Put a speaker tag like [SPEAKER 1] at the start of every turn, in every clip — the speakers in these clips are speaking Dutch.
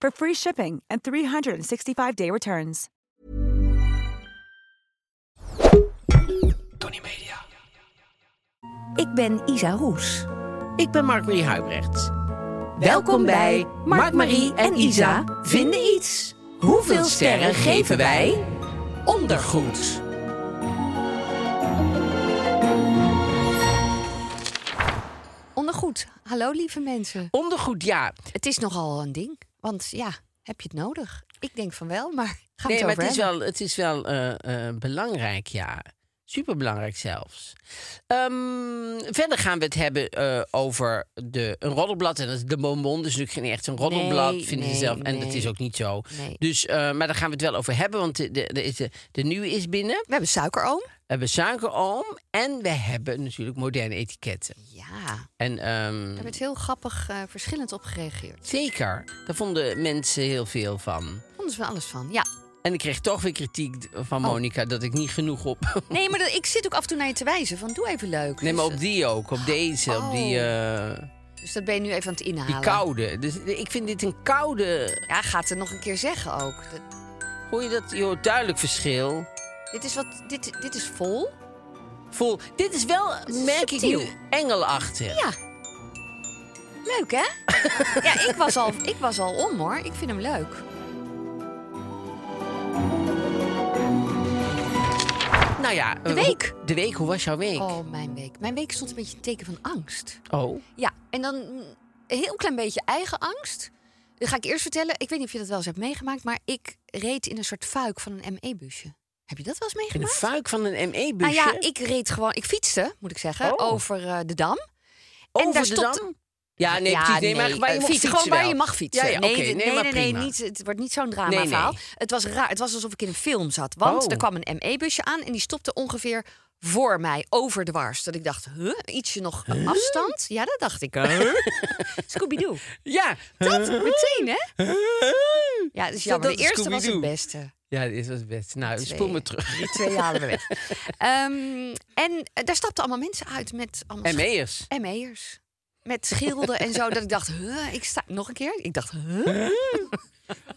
[SPEAKER 1] for free shipping and 365-day returns.
[SPEAKER 2] Tony Media.
[SPEAKER 3] Ik ben Isa Roes.
[SPEAKER 2] Ik ben Mark-Marie Huibrecht.
[SPEAKER 3] Welkom bij Mark, Marie en Isa vinden iets.
[SPEAKER 2] Hoeveel sterren geven wij? Ondergoed.
[SPEAKER 3] Ondergoed. Hallo lieve mensen.
[SPEAKER 2] Ondergoed, ja.
[SPEAKER 3] Het is nogal een ding. Want ja, heb je het nodig? Ik denk van wel, maar gaan we
[SPEAKER 2] Nee,
[SPEAKER 3] het
[SPEAKER 2] maar
[SPEAKER 3] over
[SPEAKER 2] het is
[SPEAKER 3] hebben.
[SPEAKER 2] wel, het is wel eh, eh, belangrijk, ja. Superbelangrijk zelfs. Ehm, verder gaan we het hebben eh, over de, een roddelblad. En dat is de bonbon, dus natuurlijk geen echt een roddelblad,
[SPEAKER 3] Nee,
[SPEAKER 2] vinden ze
[SPEAKER 3] nee,
[SPEAKER 2] zelf. En dat
[SPEAKER 3] nee.
[SPEAKER 2] is ook niet zo.
[SPEAKER 3] Nee.
[SPEAKER 2] Dus, eh, maar daar gaan we het wel over hebben, want de, de, de, is de, de nieuwe is binnen.
[SPEAKER 3] We hebben suikeroom.
[SPEAKER 2] We hebben suikeroom en we hebben natuurlijk moderne etiketten.
[SPEAKER 3] Ja, daar
[SPEAKER 2] En ehm,
[SPEAKER 3] werd heel grappig eh, verschillend op gereageerd.
[SPEAKER 2] zeker, daar vonden mensen heel veel van.
[SPEAKER 3] Vonden ze wel alles van, ja.
[SPEAKER 2] En ik kreeg toch weer kritiek d- van Monica dat ik niet genoeg op.
[SPEAKER 3] Oh. Nee, maar dat- ik zit ook af en toe naar je te wijzen van doe even leuk.
[SPEAKER 2] Nee,
[SPEAKER 3] Dus,
[SPEAKER 2] maar op
[SPEAKER 3] eh,
[SPEAKER 2] die ook, op deze,
[SPEAKER 3] Oh.
[SPEAKER 2] op die, eh,
[SPEAKER 3] Dus dat ben je nu even aan het inhalen.
[SPEAKER 2] die koude. Dus ik vind dit een koude.
[SPEAKER 3] Ja, gaat het nog een keer zeggen ook. Dat-
[SPEAKER 2] Hoor je dat? Je hoort duidelijk verschil.
[SPEAKER 3] dit, is wat, dit, dit is vol.
[SPEAKER 2] Voel. Dit is wel,
[SPEAKER 3] is
[SPEAKER 2] merk
[SPEAKER 3] subtiel.
[SPEAKER 2] ik nu, engelachtig.
[SPEAKER 3] Ja. Leuk, hè? ja, ik was, al, ik was al om, hoor. Ik vind hem leuk.
[SPEAKER 2] Nou ja. De
[SPEAKER 3] week.
[SPEAKER 2] de week, hoe was jouw week?
[SPEAKER 3] Oh, mijn week. Mijn week stond een beetje een teken van angst.
[SPEAKER 2] Oh.
[SPEAKER 3] Ja, en dan mm, een heel klein beetje eigen angst. Dat ga ik eerst vertellen. Ik weet niet of je dat wel eens hebt meegemaakt, maar ik reed in een soort fuik van een ME-busje. Heb je dat wel eens
[SPEAKER 2] In de
[SPEAKER 3] meegemaakt?
[SPEAKER 2] fuik van een
[SPEAKER 3] Nou
[SPEAKER 2] ME-busje.
[SPEAKER 3] ja, ik reed gewoon, ik fietste, moet ik zeggen,
[SPEAKER 2] Oh.
[SPEAKER 3] over eh, de dam.
[SPEAKER 2] Over
[SPEAKER 3] en daar
[SPEAKER 2] de
[SPEAKER 3] stond-
[SPEAKER 2] dam? Ja, nee,
[SPEAKER 3] ja,
[SPEAKER 2] precies. Nee, maar
[SPEAKER 3] nee,
[SPEAKER 2] waar je
[SPEAKER 3] eh,
[SPEAKER 2] mocht
[SPEAKER 3] fietsen,
[SPEAKER 2] fietsen
[SPEAKER 3] gewoon waar
[SPEAKER 2] wel.
[SPEAKER 3] je mag fietsen.
[SPEAKER 2] Ja, ja,
[SPEAKER 3] nee,
[SPEAKER 2] oké.
[SPEAKER 3] nee,
[SPEAKER 2] nee,
[SPEAKER 3] nee,
[SPEAKER 2] maar
[SPEAKER 3] nee,
[SPEAKER 2] prima.
[SPEAKER 3] niet, het wordt niet zo'n
[SPEAKER 2] Nee,
[SPEAKER 3] drama
[SPEAKER 2] nee.
[SPEAKER 3] verhaal. Het was raar. Het was alsof ik in een film zat. Want
[SPEAKER 2] Oh.
[SPEAKER 3] er kwam een ME-busje aan en die stopte ongeveer voor mij, over de wars. Dat ik dacht, huh? ietsje nog afstand? Ja, dat dacht ik. Huh? Scooby-Doo.
[SPEAKER 2] Ja.
[SPEAKER 3] Dat, meteen, hè? Ja, dat is jammer.
[SPEAKER 2] dat
[SPEAKER 3] de
[SPEAKER 2] is
[SPEAKER 3] eerste was het
[SPEAKER 2] Scooby-Doo.
[SPEAKER 3] beste.
[SPEAKER 2] Ja, dit was best. Nou,
[SPEAKER 3] Twee.
[SPEAKER 2] spoel me terug.
[SPEAKER 3] Die twee halen we weg. Ehm, en eh, daar stapten allemaal mensen uit met allemaal
[SPEAKER 2] ME'ers.
[SPEAKER 3] ME'ers. Met schilden en zo. Dat ik dacht, huh, ik sta... Nog een keer? Ik dacht, huh?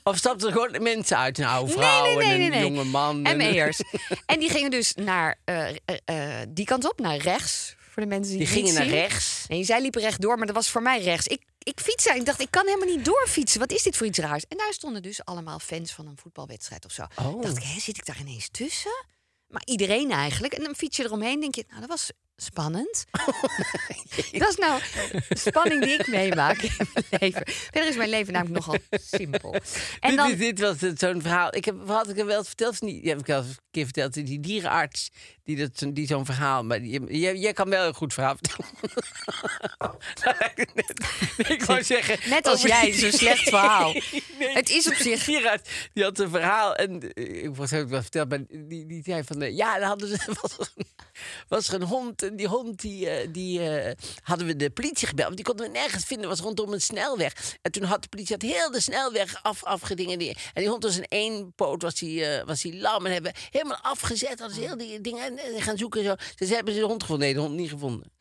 [SPEAKER 2] Of stapten er gewoon mensen uit? Een oude vrouw en een jonge
[SPEAKER 3] E.
[SPEAKER 2] man. en-
[SPEAKER 3] ME'ers. en die gingen dus naar eh, eh, eh, die kant op, naar rechts. Voor de mensen die,
[SPEAKER 2] Die
[SPEAKER 3] het niet
[SPEAKER 2] gingen naar
[SPEAKER 3] zien.
[SPEAKER 2] rechts.
[SPEAKER 3] Nee, zij liepen rechtdoor, maar dat was voor mij rechts. Ik, ik fietste en ik dacht, ik kan helemaal niet doorfietsen. Wat is dit voor iets raars? En daar stonden dus allemaal fans van een voetbalwedstrijd of zo.
[SPEAKER 2] Oh.
[SPEAKER 3] Dacht ik, hè, zit ik daar ineens tussen? Maar iedereen eigenlijk. En dan fiets je eromheen, denk je, nou, dat was spannend.
[SPEAKER 2] Oh,
[SPEAKER 3] dat is nou spanning die ik meemaak in mijn leven. Verder is mijn leven namelijk nogal simpel. En
[SPEAKER 2] Dit-
[SPEAKER 3] dan,
[SPEAKER 2] dit, dit was het, zo'n verhaal. Ik heb, had ik hem wel eens verteld of niet? Die heb ik wel eens een keer verteld. Die dierenarts, die, dat, zo- die zo'n verhaal... Maar die- jij, jij kan wel een goed verhaal vertellen. Dat lijkt net- nee, ik wou zeggen...
[SPEAKER 3] net als
[SPEAKER 2] over
[SPEAKER 3] jij,
[SPEAKER 2] die-
[SPEAKER 3] zo'n slecht verhaal.
[SPEAKER 2] Nee,
[SPEAKER 3] Het is op zich
[SPEAKER 2] Die dierenarts, die had een verhaal. En eh, ik was ook wel verteld, maar die, die zei van... eh, ja, dan hadden ze, was, er een- was er een hond. En die hond, die, eh, die eh, hadden we de politie gebeld. Want die konden we nergens vinden. was rondom een snelweg. En toen had de politie had heel de snelweg af, afgedingen. Die, en die hond was in één poot, was die, eh, was die lam. En hebben helemaal afgezet. Hadden ze heel die dingen en, en gaan zoeken en zo. Dus ze hebben ze de hond gevonden. Nee, de hond niet gevonden.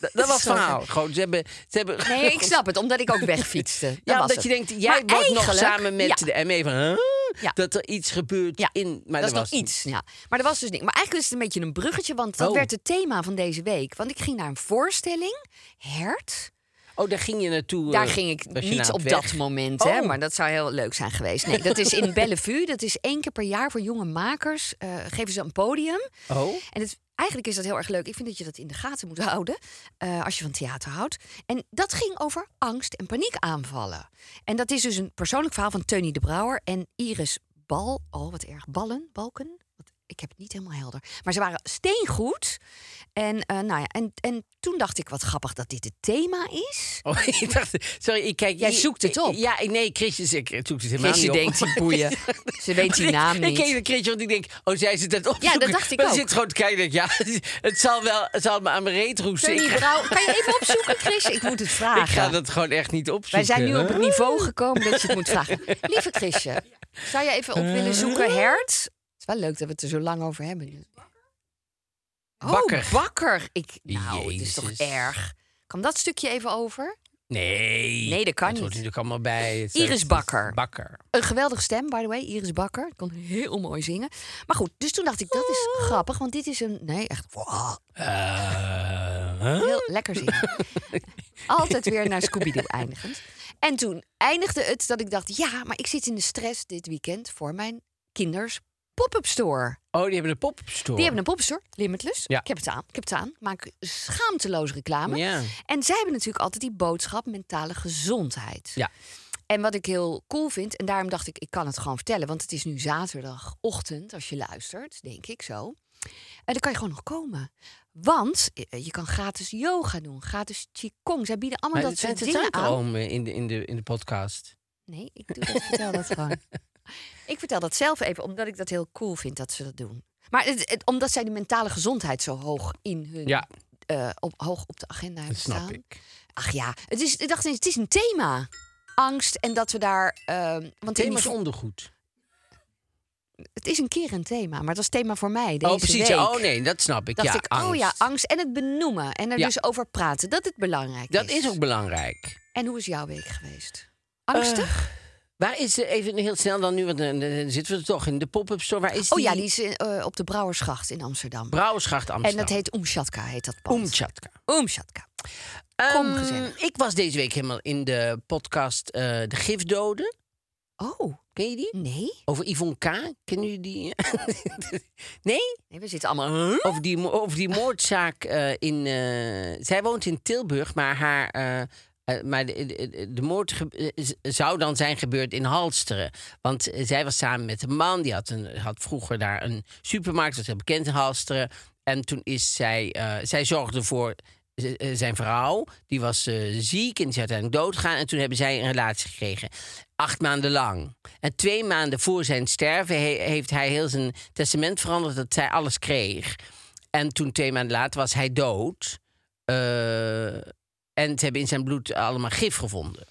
[SPEAKER 2] Dat, dat was het
[SPEAKER 3] Sorry.
[SPEAKER 2] verhaal. Gewoon, ze hebben... Ze hebben
[SPEAKER 3] Nee, ik snap het, omdat ik ook wegfietste. Dat
[SPEAKER 2] ja,
[SPEAKER 3] was
[SPEAKER 2] omdat
[SPEAKER 3] het.
[SPEAKER 2] je denkt,
[SPEAKER 3] Maar
[SPEAKER 2] jij wordt nog
[SPEAKER 3] eigenlijk-
[SPEAKER 2] samen met
[SPEAKER 3] ja,
[SPEAKER 2] de ME van... huh?
[SPEAKER 3] Ja.
[SPEAKER 2] Dat er iets gebeurt
[SPEAKER 3] ja,
[SPEAKER 2] in... Maar
[SPEAKER 3] dat is
[SPEAKER 2] was
[SPEAKER 3] nog iets. Ja. Maar er was dus niet. Maar eigenlijk is het een beetje een bruggetje, want dat
[SPEAKER 2] Oh.
[SPEAKER 3] werd het thema van deze week. Want ik ging naar een voorstelling, Hert.
[SPEAKER 2] niet. Oh, daar ging je naartoe.
[SPEAKER 3] Daar
[SPEAKER 2] eh,
[SPEAKER 3] ging ik
[SPEAKER 2] was je
[SPEAKER 3] niet
[SPEAKER 2] na
[SPEAKER 3] op
[SPEAKER 2] het
[SPEAKER 3] dat
[SPEAKER 2] weg.
[SPEAKER 3] moment, hè,
[SPEAKER 2] Oh.
[SPEAKER 3] maar dat zou heel leuk zijn geweest. Nee, dat is in Bellevue. Dat is één keer per jaar voor jonge makers. eh, geven ze een podium.
[SPEAKER 2] Oh,
[SPEAKER 3] En het, eigenlijk is dat heel erg leuk. Ik vind dat je dat in de gaten moet houden eh, als je van theater houdt. En dat ging over angst en paniekaanvallen. En dat is dus een persoonlijk verhaal van Teunie de Brouwer en Iris Bal. Oh, wat erg. Ballen, balken. Wat- Ik heb het niet helemaal helder. Maar ze waren steengoed. En, eh, nou ja, en, en toen dacht ik, wat grappig dat dit het thema is.
[SPEAKER 2] oh ik dacht, sorry, ik kijk.
[SPEAKER 3] Jij
[SPEAKER 2] ik-
[SPEAKER 3] zoekt het op.
[SPEAKER 2] Ja, ik- nee, Chrisje ik zoek het helemaal
[SPEAKER 3] Chrisje
[SPEAKER 2] niet op.
[SPEAKER 3] denkt, die boeien. Ze weet die naam
[SPEAKER 2] Ik keek
[SPEAKER 3] niet.
[SPEAKER 2] naar Chrisje, want ik denk, oh, zij zit het op.
[SPEAKER 3] dat dacht ik
[SPEAKER 2] maar
[SPEAKER 3] ook.
[SPEAKER 2] zit gewoon te kijken, ik denk, ja, het zal wel, het zal me aan mijn reet roesten.
[SPEAKER 3] Teunie
[SPEAKER 2] Ik, ga-
[SPEAKER 3] Brouw, kan je even opzoeken, Chris? Ik moet het vragen.
[SPEAKER 2] ik ga dat gewoon echt niet opzoeken.
[SPEAKER 3] Wij zijn nu op
[SPEAKER 2] hè?
[SPEAKER 3] het niveau gekomen dat je het moet vragen. Lieve Chrisje, zou jij even op
[SPEAKER 2] Eh.
[SPEAKER 3] willen zoeken hert? Het is wel leuk dat we het er zo lang over hebben. Oh,
[SPEAKER 2] Bakker.
[SPEAKER 3] bakker. Ik, nou, het is toch
[SPEAKER 2] Jezus.
[SPEAKER 3] erg. Kan dat stukje even over?
[SPEAKER 2] Nee.
[SPEAKER 3] Nee, dat kan
[SPEAKER 2] hoort
[SPEAKER 3] niet.
[SPEAKER 2] natuurlijk allemaal bij. Het
[SPEAKER 3] Iris
[SPEAKER 2] het
[SPEAKER 3] Bakker.
[SPEAKER 2] Bakker.
[SPEAKER 3] Een geweldige stem, by the way. Iris Bakker. Kon heel mooi zingen. Maar goed, dus toen dacht ik, dat
[SPEAKER 2] Oh.
[SPEAKER 3] is grappig. Want dit is een... Nee, echt... wow,
[SPEAKER 2] Eh, huh?
[SPEAKER 3] Heel lekker zingen. Altijd weer naar Scooby-Doo eindigend. En toen eindigde het dat ik dacht... ja, maar ik zit in de stress dit weekend voor mijn kinders pop-up store.
[SPEAKER 2] Oh, die hebben een pop-up store.
[SPEAKER 3] Die hebben een pop-up store, Limitless.
[SPEAKER 2] Ja.
[SPEAKER 3] Ik heb het aan, ik heb het aan. Maak schaamteloos reclame.
[SPEAKER 2] Ja.
[SPEAKER 3] En zij hebben natuurlijk altijd die boodschap mentale gezondheid.
[SPEAKER 2] Ja.
[SPEAKER 3] En wat ik heel cool vind, en daarom dacht ik, ik kan het gewoon vertellen. Want het is nu zaterdagochtend, als je luistert, denk ik zo. En dan kan je gewoon nog komen. Want eh, je kan gratis yoga doen, gratis qigong. Zij bieden allemaal
[SPEAKER 2] Maar dat
[SPEAKER 3] dat soort
[SPEAKER 2] zijn het
[SPEAKER 3] dingen aan.
[SPEAKER 2] zaterdag in de, in, de, in de podcast.
[SPEAKER 3] Nee, ik doe dat, vertel dat gewoon. Ik vertel dat zelf even, omdat ik dat heel cool vind dat ze dat doen. Maar het, het- omdat zij de mentale gezondheid zo hoog in hun...
[SPEAKER 2] Ja,
[SPEAKER 3] eh, op, hoog op de agenda
[SPEAKER 2] dat
[SPEAKER 3] hebben
[SPEAKER 2] snap
[SPEAKER 3] staan.
[SPEAKER 2] ik.
[SPEAKER 3] Ach ja, het is, ik dacht, het is een thema. Angst en dat we daar... ehm, want in die
[SPEAKER 2] Thema's
[SPEAKER 3] vo-
[SPEAKER 2] ondergoed. Oh,
[SPEAKER 3] het is een keer een thema, maar het was thema voor mij deze
[SPEAKER 2] Oh, precies.
[SPEAKER 3] week.
[SPEAKER 2] ja. Oh, nee, dat snap ik.
[SPEAKER 3] dacht
[SPEAKER 2] ja,
[SPEAKER 3] ik, oh ja, angst. En het benoemen en er
[SPEAKER 2] Ja.
[SPEAKER 3] dus over praten, dat het belangrijk
[SPEAKER 2] Dat
[SPEAKER 3] is.
[SPEAKER 2] is ook belangrijk.
[SPEAKER 3] En hoe is jouw week geweest?
[SPEAKER 2] Eh,
[SPEAKER 3] Angstig?
[SPEAKER 2] Waar is de, even heel snel dan nu, want eh, dan, dan- dan zitten we toch in de pop-up store. Waar is
[SPEAKER 3] oh ja, die is in, eh, op de Brouwersgracht in Amsterdam.
[SPEAKER 2] Brouwersgracht
[SPEAKER 3] en
[SPEAKER 2] Amsterdam.
[SPEAKER 3] dat heet Oemschatka, heet dat pand.
[SPEAKER 2] Oemchatka.
[SPEAKER 3] Oemschatka. Kom,
[SPEAKER 2] Ehm,
[SPEAKER 3] gezellig.
[SPEAKER 2] Ik was deze week helemaal in de podcast eh, De Gifdoden.
[SPEAKER 3] Oh,
[SPEAKER 2] Ken je die?
[SPEAKER 3] nee.
[SPEAKER 2] Over Yvonne K. Kennen jullie die? nee?
[SPEAKER 3] Nee, we zitten allemaal... huh?
[SPEAKER 2] Over die, mo- over die moordzaak eh, in. eh, zij woont in Tilburg, maar haar. eh, eh, maar de, de, de moord ge- eh, z- zou dan zijn gebeurd in Halsteren. Want eh, zij was samen met een man. Die had, een, had vroeger daar een supermarkt. Dat is heel bekend in Halsteren. En toen is zij. eh, zij zorgde voor z- eh, zijn vrouw. Die was eh, ziek en die is uiteindelijk doodgegaan. En toen hebben zij een relatie gekregen. Acht maanden lang. En twee maanden voor zijn sterven he- heeft hij heel zijn testament veranderd. Dat zij alles kreeg. En toen twee maanden later was hij dood. Eh, en ze hebben in zijn bloed allemaal gif gevonden.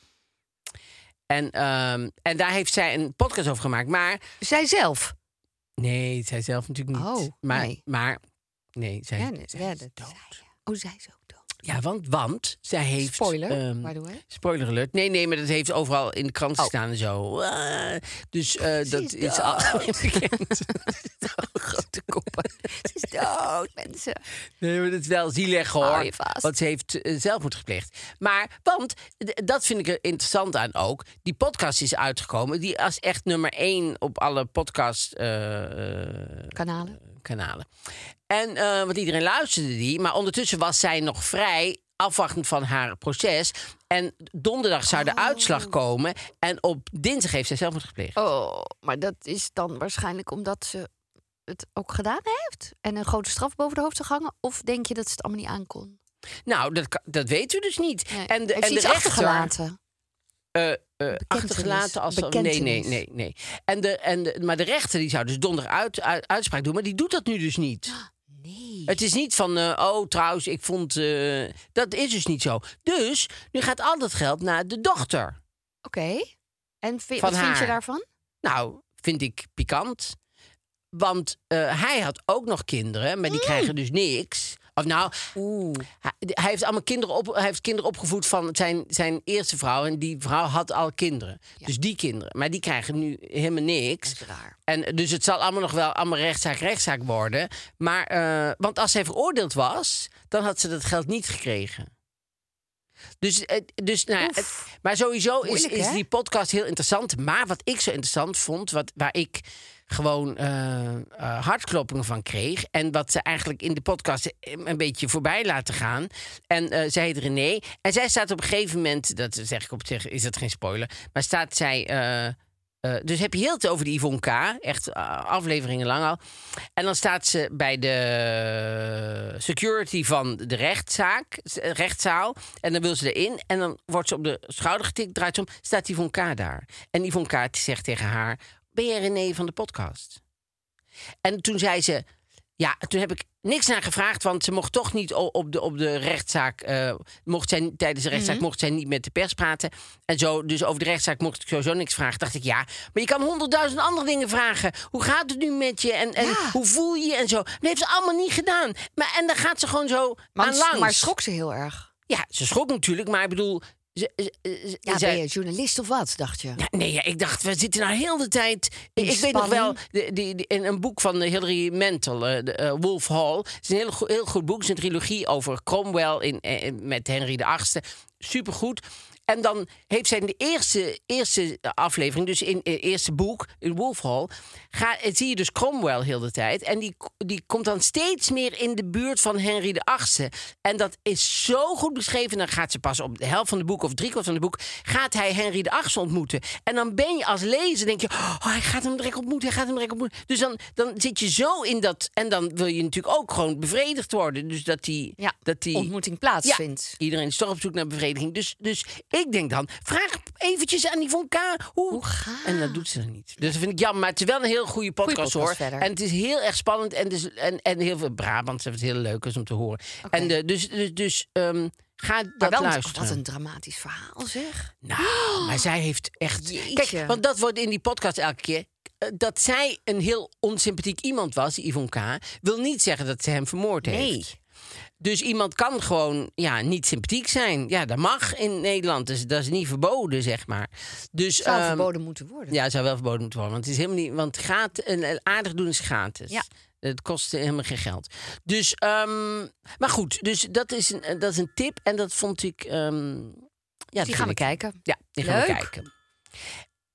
[SPEAKER 2] En, ehm, en daar heeft zij een podcast over gemaakt. Maar
[SPEAKER 3] Zij zelf.
[SPEAKER 2] nee, zij zelf natuurlijk niet.
[SPEAKER 3] Oh,
[SPEAKER 2] maar,
[SPEAKER 3] nee.
[SPEAKER 2] maar nee, zij,
[SPEAKER 3] Ja, nee,
[SPEAKER 2] zij
[SPEAKER 3] ja,
[SPEAKER 2] is
[SPEAKER 3] dat
[SPEAKER 2] dood.
[SPEAKER 3] zei je. Oh, zij is ook dood.
[SPEAKER 2] Ja, want, want zij heeft...
[SPEAKER 3] Spoiler,
[SPEAKER 2] ehm,
[SPEAKER 3] by the way.
[SPEAKER 2] Spoiler alert. Nee, nee, maar dat heeft overal in de krant
[SPEAKER 3] Oh.
[SPEAKER 2] gestaan en zo. Eh, dus eh, dat
[SPEAKER 3] is
[SPEAKER 2] is al Oh, bekend.
[SPEAKER 3] grote koppen. Ze is dood, mensen.
[SPEAKER 2] Nee, maar dat is wel zielig hoor.
[SPEAKER 3] Hou je vast.
[SPEAKER 2] Want ze heeft eh, zelfmoord gepleegd. Maar, want, d- dat vind ik er interessant aan ook. Die podcast is uitgekomen. Die als echt nummer één op alle eh, podcast-kanalen.
[SPEAKER 3] Kanalen.
[SPEAKER 2] en, eh, want iedereen luisterde die. Maar ondertussen was zij nog vrij, afwachtend van haar proces. En donderdag zou de uitslag komen. En op dinsdag heeft zij zelfmoord gepleegd.
[SPEAKER 3] Oh, maar dat is dan waarschijnlijk omdat ze het ook gedaan heeft. En een grote straf boven de hoofd te hangen. Of denk je dat ze het allemaal niet aan kon?
[SPEAKER 2] Nou, dat, kan- dat weten we dus niet.
[SPEAKER 3] Nee.
[SPEAKER 2] En de,
[SPEAKER 3] heeft
[SPEAKER 2] en
[SPEAKER 3] ze
[SPEAKER 2] de
[SPEAKER 3] iets
[SPEAKER 2] rechter
[SPEAKER 3] achtergelaten?
[SPEAKER 2] eh, eh, achtergelaten als nee, nee,
[SPEAKER 3] Bekentenis.
[SPEAKER 2] nee, nee. En de, en de, maar de rechter die zou dus donderdag uit, uit- uitspraak doen, maar die doet dat nu dus niet.
[SPEAKER 3] Nee.
[SPEAKER 2] Het is niet van, eh, oh trouwens, ik vond. eh, dat is dus niet zo. Dus nu gaat al dat geld naar de dochter.
[SPEAKER 3] Oké. En vi-
[SPEAKER 2] Van
[SPEAKER 3] wat vind je
[SPEAKER 2] haar.
[SPEAKER 3] daarvan?
[SPEAKER 2] Nou, vind ik pikant. Want eh, hij had ook nog kinderen, maar die krijgen dus niks. Of nou,
[SPEAKER 3] Oeh.
[SPEAKER 2] Hij, hij heeft allemaal kinderen, op, hij heeft kinderen opgevoed van zijn, zijn eerste vrouw. En die vrouw had al kinderen. Dus die kinderen. Maar die krijgen nu helemaal niks.
[SPEAKER 3] Dat is raar.
[SPEAKER 2] En, dus het zal allemaal nog wel allemaal rechtszaak, rechtszaak worden. Maar, eh, want als zij veroordeeld was, dan had ze dat geld niet gekregen. Dus, eh, dus nou, ja,
[SPEAKER 3] Oef.
[SPEAKER 2] het- maar sowieso is,
[SPEAKER 3] Moeilijk,
[SPEAKER 2] is
[SPEAKER 3] hè?
[SPEAKER 2] die podcast heel interessant. Maar wat ik zo interessant vond, wat, waar ik gewoon eh, eh, hartkloppingen van kreeg. En wat ze eigenlijk in de podcast eh, een beetje voorbij laten gaan. En eh zij heet René. En zij staat op een gegeven moment, dat zeg ik op zich, is dat geen spoiler. Maar staat zij. eh, eh, dus heb je heel het over die Yvonne K. Echt eh, afleveringen lang al. En dan staat ze bij de security van de rechtszaak, eh, rechtszaal. En dan wil ze erin. En dan wordt ze op de schouder getikt, draait ze om. Staat Yvonne K. daar. En Yvonne K. zegt tegen haar... Ben jij René van de podcast? En toen zei ze... Ja, toen heb ik niks naar gevraagd, want ze mocht toch niet o- op de, op de rechtszaak. eh, mocht zij, tijdens de
[SPEAKER 3] Mhm.
[SPEAKER 2] rechtszaak mocht zij niet met de pers praten. En zo, dus over de rechtszaak mocht ik sowieso niks vragen. Dacht ik ja, maar je kan honderdduizend andere dingen vragen. Hoe gaat het nu met je? En, en
[SPEAKER 3] Ja.
[SPEAKER 2] hoe voel je je? En zo. Dat heeft ze allemaal niet gedaan. Maar, en dan gaat ze gewoon zo aan langs.
[SPEAKER 3] maar schrok ze heel erg.
[SPEAKER 2] Ja, ze schrok natuurlijk, maar ik bedoel. Ze, ze- ze-
[SPEAKER 3] Ja,
[SPEAKER 2] ze-
[SPEAKER 3] ben je journalist of wat, dacht je?
[SPEAKER 2] Ja, nee, ja, ik dacht, we zitten nou heel de tijd. Ik, ik weet nog wel,
[SPEAKER 3] spanning.
[SPEAKER 2] de, die, die- in een boek van eh, Hilary Mantel, eh, de, eh, Wolf Hall. Het is een heel, go- heel goed boek. Het is een trilogie over Cromwell in, eh, eh, met Henry VIII. Supergoed. En dan heeft zij in de eerste, eerste aflevering, dus in het eerste boek, in Wolf Hall, ga, eh, zie je dus Cromwell heel de tijd. En die, die komt dan steeds meer in de buurt van Henry VIII. En dat is zo goed beschreven. Dan gaat ze pas op de helft van de boek of driekwart van de boek... gaat hij Henry VIII ontmoeten. En dan ben je als lezer, denk je... oh, hij gaat hem direct ontmoeten, hij gaat hem direct ontmoeten. Dus dan, dan zit je zo in dat... en dan wil je natuurlijk ook gewoon bevredigd worden. Dus dat die...
[SPEAKER 3] Ja,
[SPEAKER 2] dat die
[SPEAKER 3] ontmoeting plaatsvindt.
[SPEAKER 2] Iedereen is toch op zoek naar bevrediging. Dus, dus ik denk dan, vraag eventjes aan Yvonne K. Hoe,
[SPEAKER 3] gaat
[SPEAKER 2] En dat doet ze dan niet. Dus dat vind ik jammer. Maar het is wel een heel goede podcast,
[SPEAKER 3] podcast
[SPEAKER 2] hoor.
[SPEAKER 3] verder.
[SPEAKER 2] En het is heel erg spannend. En, dus, en, en heel veel Brabants. Dat is heel leuk is om te horen. En de, dus, dus, dus ehm, ga
[SPEAKER 3] Maar
[SPEAKER 2] dat
[SPEAKER 3] wel, een-
[SPEAKER 2] luisteren.
[SPEAKER 3] wat een dramatisch verhaal, zeg.
[SPEAKER 2] Nou, maar zij heeft echt... Kijk,
[SPEAKER 3] Jeetje.
[SPEAKER 2] want dat wordt in die podcast elke keer... eh, Dat zij een heel onsympathiek iemand was, die Yvonne K. wil niet zeggen dat ze hem vermoord
[SPEAKER 3] Nee.
[SPEAKER 2] heeft. Dus iemand kan gewoon ja, niet sympathiek zijn. Ja, dat mag in Nederland. Dus dat is niet verboden, zeg maar. Dus,
[SPEAKER 3] Het zou
[SPEAKER 2] ehm,
[SPEAKER 3] verboden moeten worden.
[SPEAKER 2] Ja, het zou wel verboden moeten worden. Want, het is helemaal niet, want gratis, een, een aardig doen is gratis.
[SPEAKER 3] Ja.
[SPEAKER 2] Het kost helemaal geen geld. Dus, ehm, maar goed, dus dat is, een, eh, dat is een tip. En dat vond ik... ehm, ja,
[SPEAKER 3] Dus Die gaan we
[SPEAKER 2] kijken.
[SPEAKER 3] kijken.
[SPEAKER 2] Ja, die gaan we
[SPEAKER 3] Leuk.
[SPEAKER 2] kijken.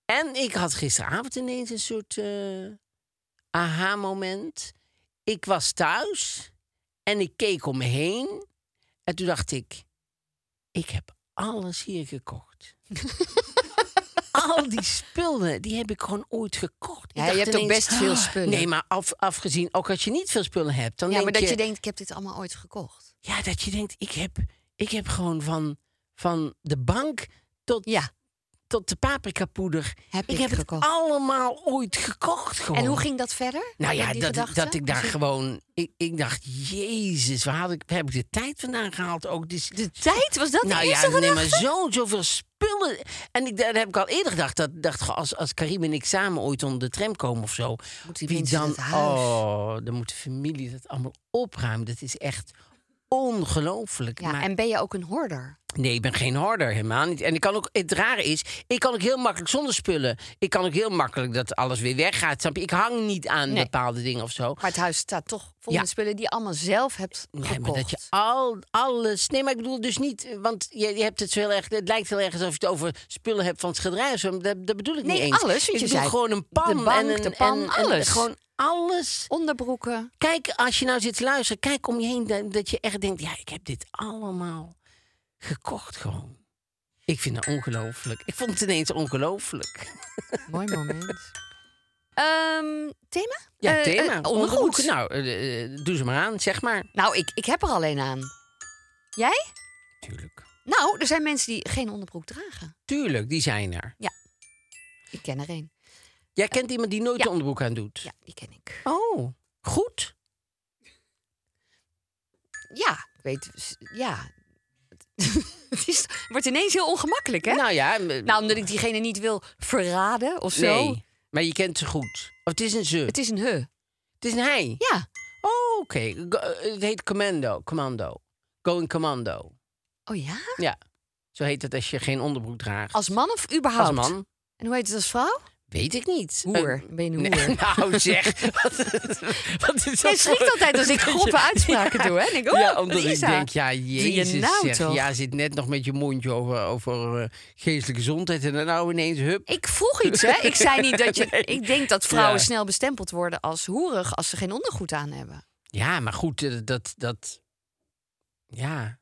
[SPEAKER 2] En ik had gisteravond ineens een soort eh, aha-moment. Ik was thuis en ik keek om me heen. En toen dacht ik, ik heb alles hier gekocht. Al die spullen, die heb ik gewoon ooit gekocht. Ik
[SPEAKER 3] Ja, je
[SPEAKER 2] dacht
[SPEAKER 3] hebt ook
[SPEAKER 2] ineens,
[SPEAKER 3] best veel
[SPEAKER 2] "Ah,
[SPEAKER 3] spullen."
[SPEAKER 2] Nee, maar af, afgezien, ook als je niet veel spullen hebt... Dan
[SPEAKER 3] Ja,
[SPEAKER 2] denk
[SPEAKER 3] maar dat je
[SPEAKER 2] je
[SPEAKER 3] denkt, ik heb dit allemaal ooit gekocht.
[SPEAKER 2] ja, dat je denkt, ik heb, ik heb gewoon van, van de bank tot,
[SPEAKER 3] Ja.
[SPEAKER 2] tot de paprikapoeder.
[SPEAKER 3] Heb
[SPEAKER 2] ik
[SPEAKER 3] ik
[SPEAKER 2] heb
[SPEAKER 3] gekocht.
[SPEAKER 2] het allemaal ooit gekocht. Gewoon.
[SPEAKER 3] En hoe ging dat verder?
[SPEAKER 2] nou
[SPEAKER 3] Met
[SPEAKER 2] ja,
[SPEAKER 3] die
[SPEAKER 2] dat,
[SPEAKER 3] gedachte?
[SPEAKER 2] dat ik daar
[SPEAKER 3] Was het-
[SPEAKER 2] gewoon... Ik, ik dacht, jezus, waar, had ik, waar heb ik de tijd vandaan gehaald? Ook dit,
[SPEAKER 3] De tijd, was dat de
[SPEAKER 2] nou
[SPEAKER 3] eerste
[SPEAKER 2] ja, nee, maar
[SPEAKER 3] gedachte?
[SPEAKER 2] zo, zoveel spullen. En ik, daar heb ik al eerder gedacht. Dat, dacht, als, als Karim en ik samen ooit onder de tram komen of zo.
[SPEAKER 3] Moet die
[SPEAKER 2] wie
[SPEAKER 3] mensen
[SPEAKER 2] dan?
[SPEAKER 3] dat huis?
[SPEAKER 2] Oh, dan moet de familie dat allemaal opruimen. Dat is echt ongelooflijk.
[SPEAKER 3] Ja,
[SPEAKER 2] Maar-
[SPEAKER 3] en ben je ook een hoorder?
[SPEAKER 2] Nee, ik ben geen harder, helemaal niet. En ik kan ook, het rare is, ik kan ook heel makkelijk zonder spullen. Ik kan ook heel makkelijk dat alles weer weggaat. Snap je? Ik hang niet aan
[SPEAKER 3] Nee.
[SPEAKER 2] bepaalde dingen of zo.
[SPEAKER 3] Maar het huis staat toch vol
[SPEAKER 2] Ja.
[SPEAKER 3] met spullen die je allemaal zelf hebt
[SPEAKER 2] Nee,
[SPEAKER 3] gekocht.
[SPEAKER 2] maar dat je al, alles... Nee, maar ik bedoel dus niet... eh, Want je, je hebt het zo heel erg... Het lijkt heel erg alsof je het over spullen hebt van het schilderij of zo. maar Dat, dat bedoel ik
[SPEAKER 3] Nee,
[SPEAKER 2] niet eens.
[SPEAKER 3] alles, want
[SPEAKER 2] Ik
[SPEAKER 3] je
[SPEAKER 2] bedoel
[SPEAKER 3] zei
[SPEAKER 2] gewoon een pan.
[SPEAKER 3] de bank,
[SPEAKER 2] en een,
[SPEAKER 3] de pan,
[SPEAKER 2] en- en
[SPEAKER 3] alles.
[SPEAKER 2] gewoon alles.
[SPEAKER 3] Onderbroeken.
[SPEAKER 2] Kijk, als je nou zit te luisteren, kijk om je heen. Dat, dat je echt denkt, ja, ik heb dit allemaal gekocht gewoon. Ik vind het ongelooflijk. Ik vond het ineens ongelooflijk.
[SPEAKER 3] Mooi moment. Ehm, thema?
[SPEAKER 2] Ja,
[SPEAKER 3] Eh, eh,
[SPEAKER 2] thema.
[SPEAKER 3] ondergoed.
[SPEAKER 2] ondergoed. Nou, eh, eh, doe ze maar aan, zeg maar.
[SPEAKER 3] Nou, ik, ik heb er alleen aan. Jij?
[SPEAKER 2] Tuurlijk.
[SPEAKER 3] Nou, er zijn mensen die geen onderbroek dragen.
[SPEAKER 2] Tuurlijk, die zijn er.
[SPEAKER 3] Ik ken er één.
[SPEAKER 2] Jij kent iemand die nooit
[SPEAKER 3] Ja.
[SPEAKER 2] de onderbroek aan doet?
[SPEAKER 3] Ja, die ken ik.
[SPEAKER 2] Oh, goed.
[SPEAKER 3] Ja, ik weet. s- Ja. Het is, wordt ineens heel ongemakkelijk, hè? Nou,
[SPEAKER 2] Nou ja, m-
[SPEAKER 3] omdat ik diegene niet wil verraden of zo.
[SPEAKER 2] nee. Maar je kent ze goed. Of het is een ze.
[SPEAKER 3] Het is een he.
[SPEAKER 2] Het is een hij.
[SPEAKER 3] Ja.
[SPEAKER 2] Oh, oké. Go- eh, Het heet commando. Commando. Going commando.
[SPEAKER 3] Oh ja?
[SPEAKER 2] Ja, zo heet het als je geen onderbroek draagt.
[SPEAKER 3] Als man of überhaupt?
[SPEAKER 2] Als man.
[SPEAKER 3] En hoe heet het als vrouw?
[SPEAKER 2] Weet ik niet.
[SPEAKER 3] Hoer.
[SPEAKER 2] Eh,
[SPEAKER 3] Ben je een
[SPEAKER 2] nee,
[SPEAKER 3] hoer?
[SPEAKER 2] nou zeg. Wat, wat is dat
[SPEAKER 3] Jij schrikt
[SPEAKER 2] voor-
[SPEAKER 3] altijd als ik grove uitspraken doe, hè? Denk, oh,
[SPEAKER 2] ja, omdat ik
[SPEAKER 3] Lisa,
[SPEAKER 2] denk, ja,
[SPEAKER 3] doe je
[SPEAKER 2] jezus
[SPEAKER 3] nou
[SPEAKER 2] zeg.
[SPEAKER 3] toch?
[SPEAKER 2] Ja, zit net nog met je mondje over, over eh, geestelijke gezondheid. En dan nou ineens, hup.
[SPEAKER 3] Ik vroeg iets, hè? Ik zei niet dat je...
[SPEAKER 2] Nee.
[SPEAKER 3] Ik denk dat vrouwen
[SPEAKER 2] Ja.
[SPEAKER 3] snel bestempeld worden als hoerig... als ze geen ondergoed aan hebben.
[SPEAKER 2] Ja, maar goed, eh, dat... dat ja.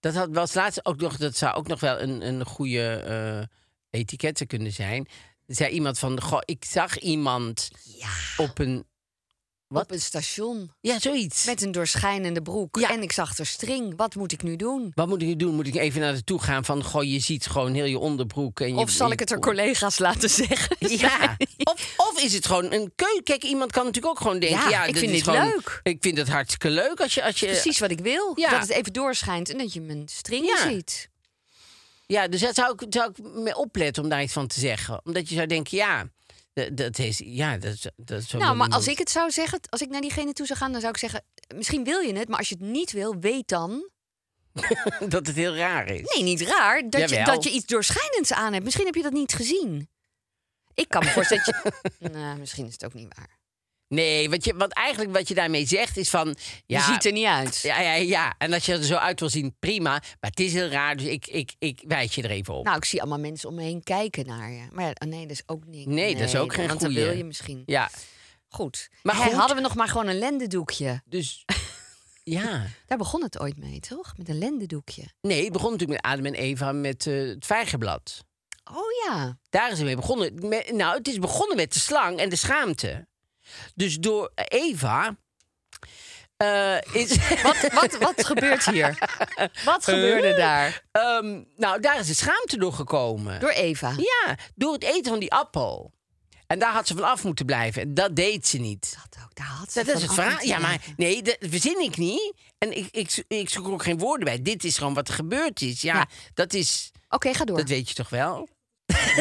[SPEAKER 2] Dat had was laatst ook nog... Dat zou ook nog wel een, een goede eh etikette kunnen zijn. Zei iemand van... Goh, ik zag iemand
[SPEAKER 3] Ja,
[SPEAKER 2] op een... Wat?
[SPEAKER 3] op een station.
[SPEAKER 2] Ja, zoiets.
[SPEAKER 3] Met een doorschijnende broek.
[SPEAKER 2] Ja.
[SPEAKER 3] En ik zag er string. Wat moet ik nu doen?
[SPEAKER 2] Wat moet ik nu doen? Moet ik even naar de toe gaan van... Goh, je ziet gewoon heel je onderbroek. En je,
[SPEAKER 3] Of zal
[SPEAKER 2] je-
[SPEAKER 3] ik het er collega's laten zeggen?
[SPEAKER 2] Ja, of, of is het gewoon een keuze? Kijk, iemand kan natuurlijk ook gewoon denken...
[SPEAKER 3] Ja,
[SPEAKER 2] Ja,
[SPEAKER 3] ik
[SPEAKER 2] dit
[SPEAKER 3] vind
[SPEAKER 2] is
[SPEAKER 3] dit
[SPEAKER 2] gewoon-
[SPEAKER 3] leuk.
[SPEAKER 2] Ik vind het hartstikke leuk als je... Als je
[SPEAKER 3] Precies wat ik wil.
[SPEAKER 2] Ja.
[SPEAKER 3] Dat het even doorschijnt en dat je mijn string
[SPEAKER 2] Ja.
[SPEAKER 3] ziet.
[SPEAKER 2] Ja, dus daar zou ik, zou ik mee opletten om daar iets van te zeggen. Omdat je zou denken, ja, d- dat is... Ja, dat, is- dat is zo
[SPEAKER 3] Nou,
[SPEAKER 2] wel
[SPEAKER 3] maar
[SPEAKER 2] iemand-
[SPEAKER 3] als ik het zou zeggen, als ik naar diegene toe zou gaan, dan zou ik zeggen: misschien wil je het, maar als je het niet wil, weet dan.
[SPEAKER 2] dat het heel raar is.
[SPEAKER 3] Nee, niet raar dat, je,
[SPEAKER 2] Jawel.
[SPEAKER 3] dat je iets doorschijnends aan hebt. Misschien heb je dat niet gezien. Ik kan me voorstellen dat je. nou, misschien is het ook niet waar.
[SPEAKER 2] Nee, wat, je, wat eigenlijk wat je daarmee zegt is van... Ja,
[SPEAKER 3] je ziet er niet uit.
[SPEAKER 2] ja, ja, ja, en als je er zo uit wil zien, prima. Maar het is heel raar, dus ik, ik, ik wijs je er even op.
[SPEAKER 3] Nou, ik zie allemaal mensen om me heen kijken naar je. Maar ja, oh nee, dat is ook niks.
[SPEAKER 2] Nee, dat is ook geen
[SPEAKER 3] Want dan
[SPEAKER 2] goeie.
[SPEAKER 3] wil je misschien.
[SPEAKER 2] ja,
[SPEAKER 3] Goed.
[SPEAKER 2] Maar
[SPEAKER 3] Hè,
[SPEAKER 2] goed.
[SPEAKER 3] hadden we nog maar gewoon een lendendoekje.
[SPEAKER 2] dus... ja.
[SPEAKER 3] Daar begon het ooit mee, toch? Met een lendendoekje.
[SPEAKER 2] Nee, het begon natuurlijk met Adam en Eva met eh, het vijgenblad.
[SPEAKER 3] Oh ja.
[SPEAKER 2] Daar is het mee begonnen. Me- nou, het is begonnen met de slang en de schaamte. Dus door Eva. eh, is,
[SPEAKER 3] Wat, wat, wat gebeurt hier? Wat gebeurde daar?
[SPEAKER 2] Ehm, nou, daar is de schaamte door gekomen.
[SPEAKER 3] Door Eva.
[SPEAKER 2] Ja, door het eten van die appel. En daar had ze van af moeten blijven. En dat deed ze niet.
[SPEAKER 3] Dat ook, daar had ze
[SPEAKER 2] Dat is
[SPEAKER 3] van
[SPEAKER 2] het
[SPEAKER 3] af en
[SPEAKER 2] verhaal.
[SPEAKER 3] toe
[SPEAKER 2] Ja, maar
[SPEAKER 3] even.
[SPEAKER 2] nee, dat verzin ik niet. En ik, ik, zo- ik zoek er ook geen woorden bij. Dit is gewoon wat er gebeurd is. Ja,
[SPEAKER 3] Ja.
[SPEAKER 2] dat is.
[SPEAKER 3] Oké, ga door.
[SPEAKER 2] Dat weet je toch wel?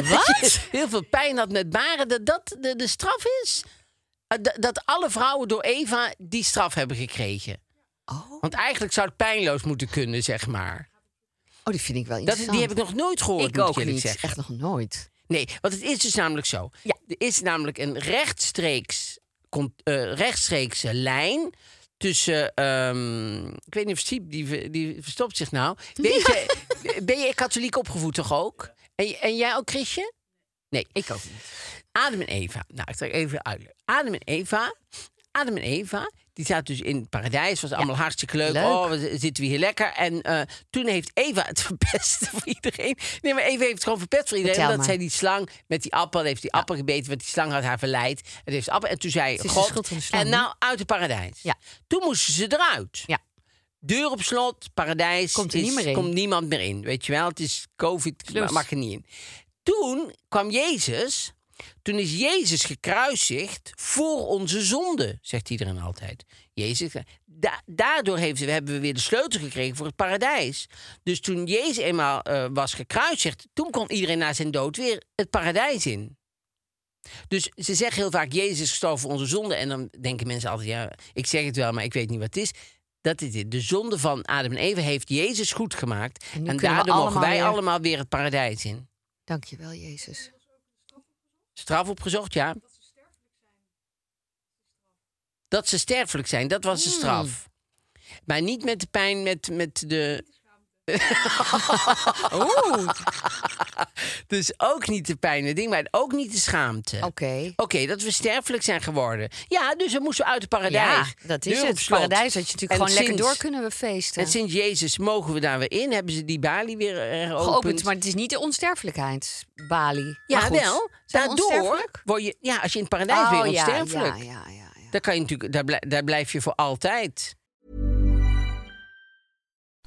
[SPEAKER 3] Wat?
[SPEAKER 2] heel veel pijn had met baren, dat dat de, de straf is? Eh, Dat, dat alle vrouwen door Eva die straf hebben gekregen.
[SPEAKER 3] Oh.
[SPEAKER 2] Want eigenlijk zou het pijnloos moeten kunnen, zeg maar.
[SPEAKER 3] oh, die vind ik wel
[SPEAKER 2] Dat,
[SPEAKER 3] interessant.
[SPEAKER 2] die heb ik nog nooit gehoord,
[SPEAKER 3] Ik
[SPEAKER 2] moet
[SPEAKER 3] ook
[SPEAKER 2] eerlijk
[SPEAKER 3] niet.
[SPEAKER 2] zeggen.
[SPEAKER 3] Echt nog nooit.
[SPEAKER 2] Nee, want het is dus namelijk zo.
[SPEAKER 3] Ja.
[SPEAKER 2] Er is namelijk een rechtstreeks, con- eh, rechtstreekse lijn tussen... ehm, ik weet niet of Siep, die, ver- die verstopt zich nou. Weet je, ben je katholiek opgevoed toch ook? En, en jij ook, Chrisje? Nee, ik ook niet. Adam en Eva. Nou, ik zal je even uitleggen. Adam en Eva. Adam en Eva. Die zaten dus in het paradijs. Was allemaal hartstikke leuk.
[SPEAKER 3] Leuk.
[SPEAKER 2] Oh, we z- zitten we hier lekker. En eh, toen heeft Eva het verpest voor iedereen. Nee, maar Eva heeft het gewoon verpest voor iedereen.
[SPEAKER 3] Vertel
[SPEAKER 2] omdat
[SPEAKER 3] maar.
[SPEAKER 2] zij die slang met die appel heeft die appel gebeten. Want die slang had haar verleid. En, toen heeft ze appel, en toen zei
[SPEAKER 3] is de schuld
[SPEAKER 2] God.
[SPEAKER 3] van de slang,
[SPEAKER 2] En
[SPEAKER 3] hè?
[SPEAKER 2] nou uit het paradijs.
[SPEAKER 3] Ja.
[SPEAKER 2] Toen moesten ze eruit.
[SPEAKER 3] Ja.
[SPEAKER 2] Deur op slot, paradijs.
[SPEAKER 3] Komt er
[SPEAKER 2] is-
[SPEAKER 3] niet meer in.
[SPEAKER 2] Komt niemand meer in. Weet je wel, het is COVID,
[SPEAKER 3] Sluis.
[SPEAKER 2] ma- mag er niet in. Toen kwam Jezus. Toen is Jezus gekruisigd voor onze zonde, zegt iedereen altijd. Jezus, da- daardoor heeft, hebben we weer de sleutel gekregen voor het paradijs. Dus toen Jezus eenmaal eh, was gekruisigd, toen kon iedereen na zijn dood weer het paradijs in. Dus ze zeggen heel vaak, Jezus is gestorven voor onze zonde. En dan denken mensen altijd, ja, ik zeg het wel, maar ik weet niet wat het is. Dat is het. De zonde van Adam en Eva heeft Jezus goed gemaakt.
[SPEAKER 3] En nu
[SPEAKER 2] En,
[SPEAKER 3] kunnen we
[SPEAKER 2] daardoor mogen
[SPEAKER 3] allemaal
[SPEAKER 2] wij
[SPEAKER 3] weer-
[SPEAKER 2] allemaal weer het paradijs in.
[SPEAKER 3] Dankjewel, Jezus.
[SPEAKER 2] Straf opgezocht, ja. Dat ze sterfelijk zijn, dat was de
[SPEAKER 3] Hmm.
[SPEAKER 2] straf. Maar niet met de pijn, met, met de... Oh.
[SPEAKER 3] Oeh. Oké.
[SPEAKER 2] Dus ook niet de pijn, het ding, maar ook niet de schaamte. Oké, dat we sterfelijk zijn geworden. Ja, dus we moesten uit het paradijs.
[SPEAKER 3] Ja, dat is
[SPEAKER 2] Deur op
[SPEAKER 3] het.
[SPEAKER 2] slot.
[SPEAKER 3] Paradijs had je natuurlijk
[SPEAKER 2] En
[SPEAKER 3] gewoon lekker
[SPEAKER 2] sinds-
[SPEAKER 3] door kunnen we feesten.
[SPEAKER 2] En sinds Jezus mogen we daar weer in. Hebben ze die balie weer eh, heropend.
[SPEAKER 3] Geopend, maar het is niet de onsterfelijkheid, Bali.
[SPEAKER 2] ja,
[SPEAKER 3] maar goed.
[SPEAKER 2] wel.
[SPEAKER 3] Zijn we
[SPEAKER 2] Daardoor
[SPEAKER 3] onsterfelijk? Oh,
[SPEAKER 2] word je... Ja, als je in het paradijs weer
[SPEAKER 3] ja,
[SPEAKER 2] onsterfelijk.
[SPEAKER 3] ja, ja, ja, ja.
[SPEAKER 2] Daar, kan je natuurlijk, daar, blij- daar blijf je voor altijd.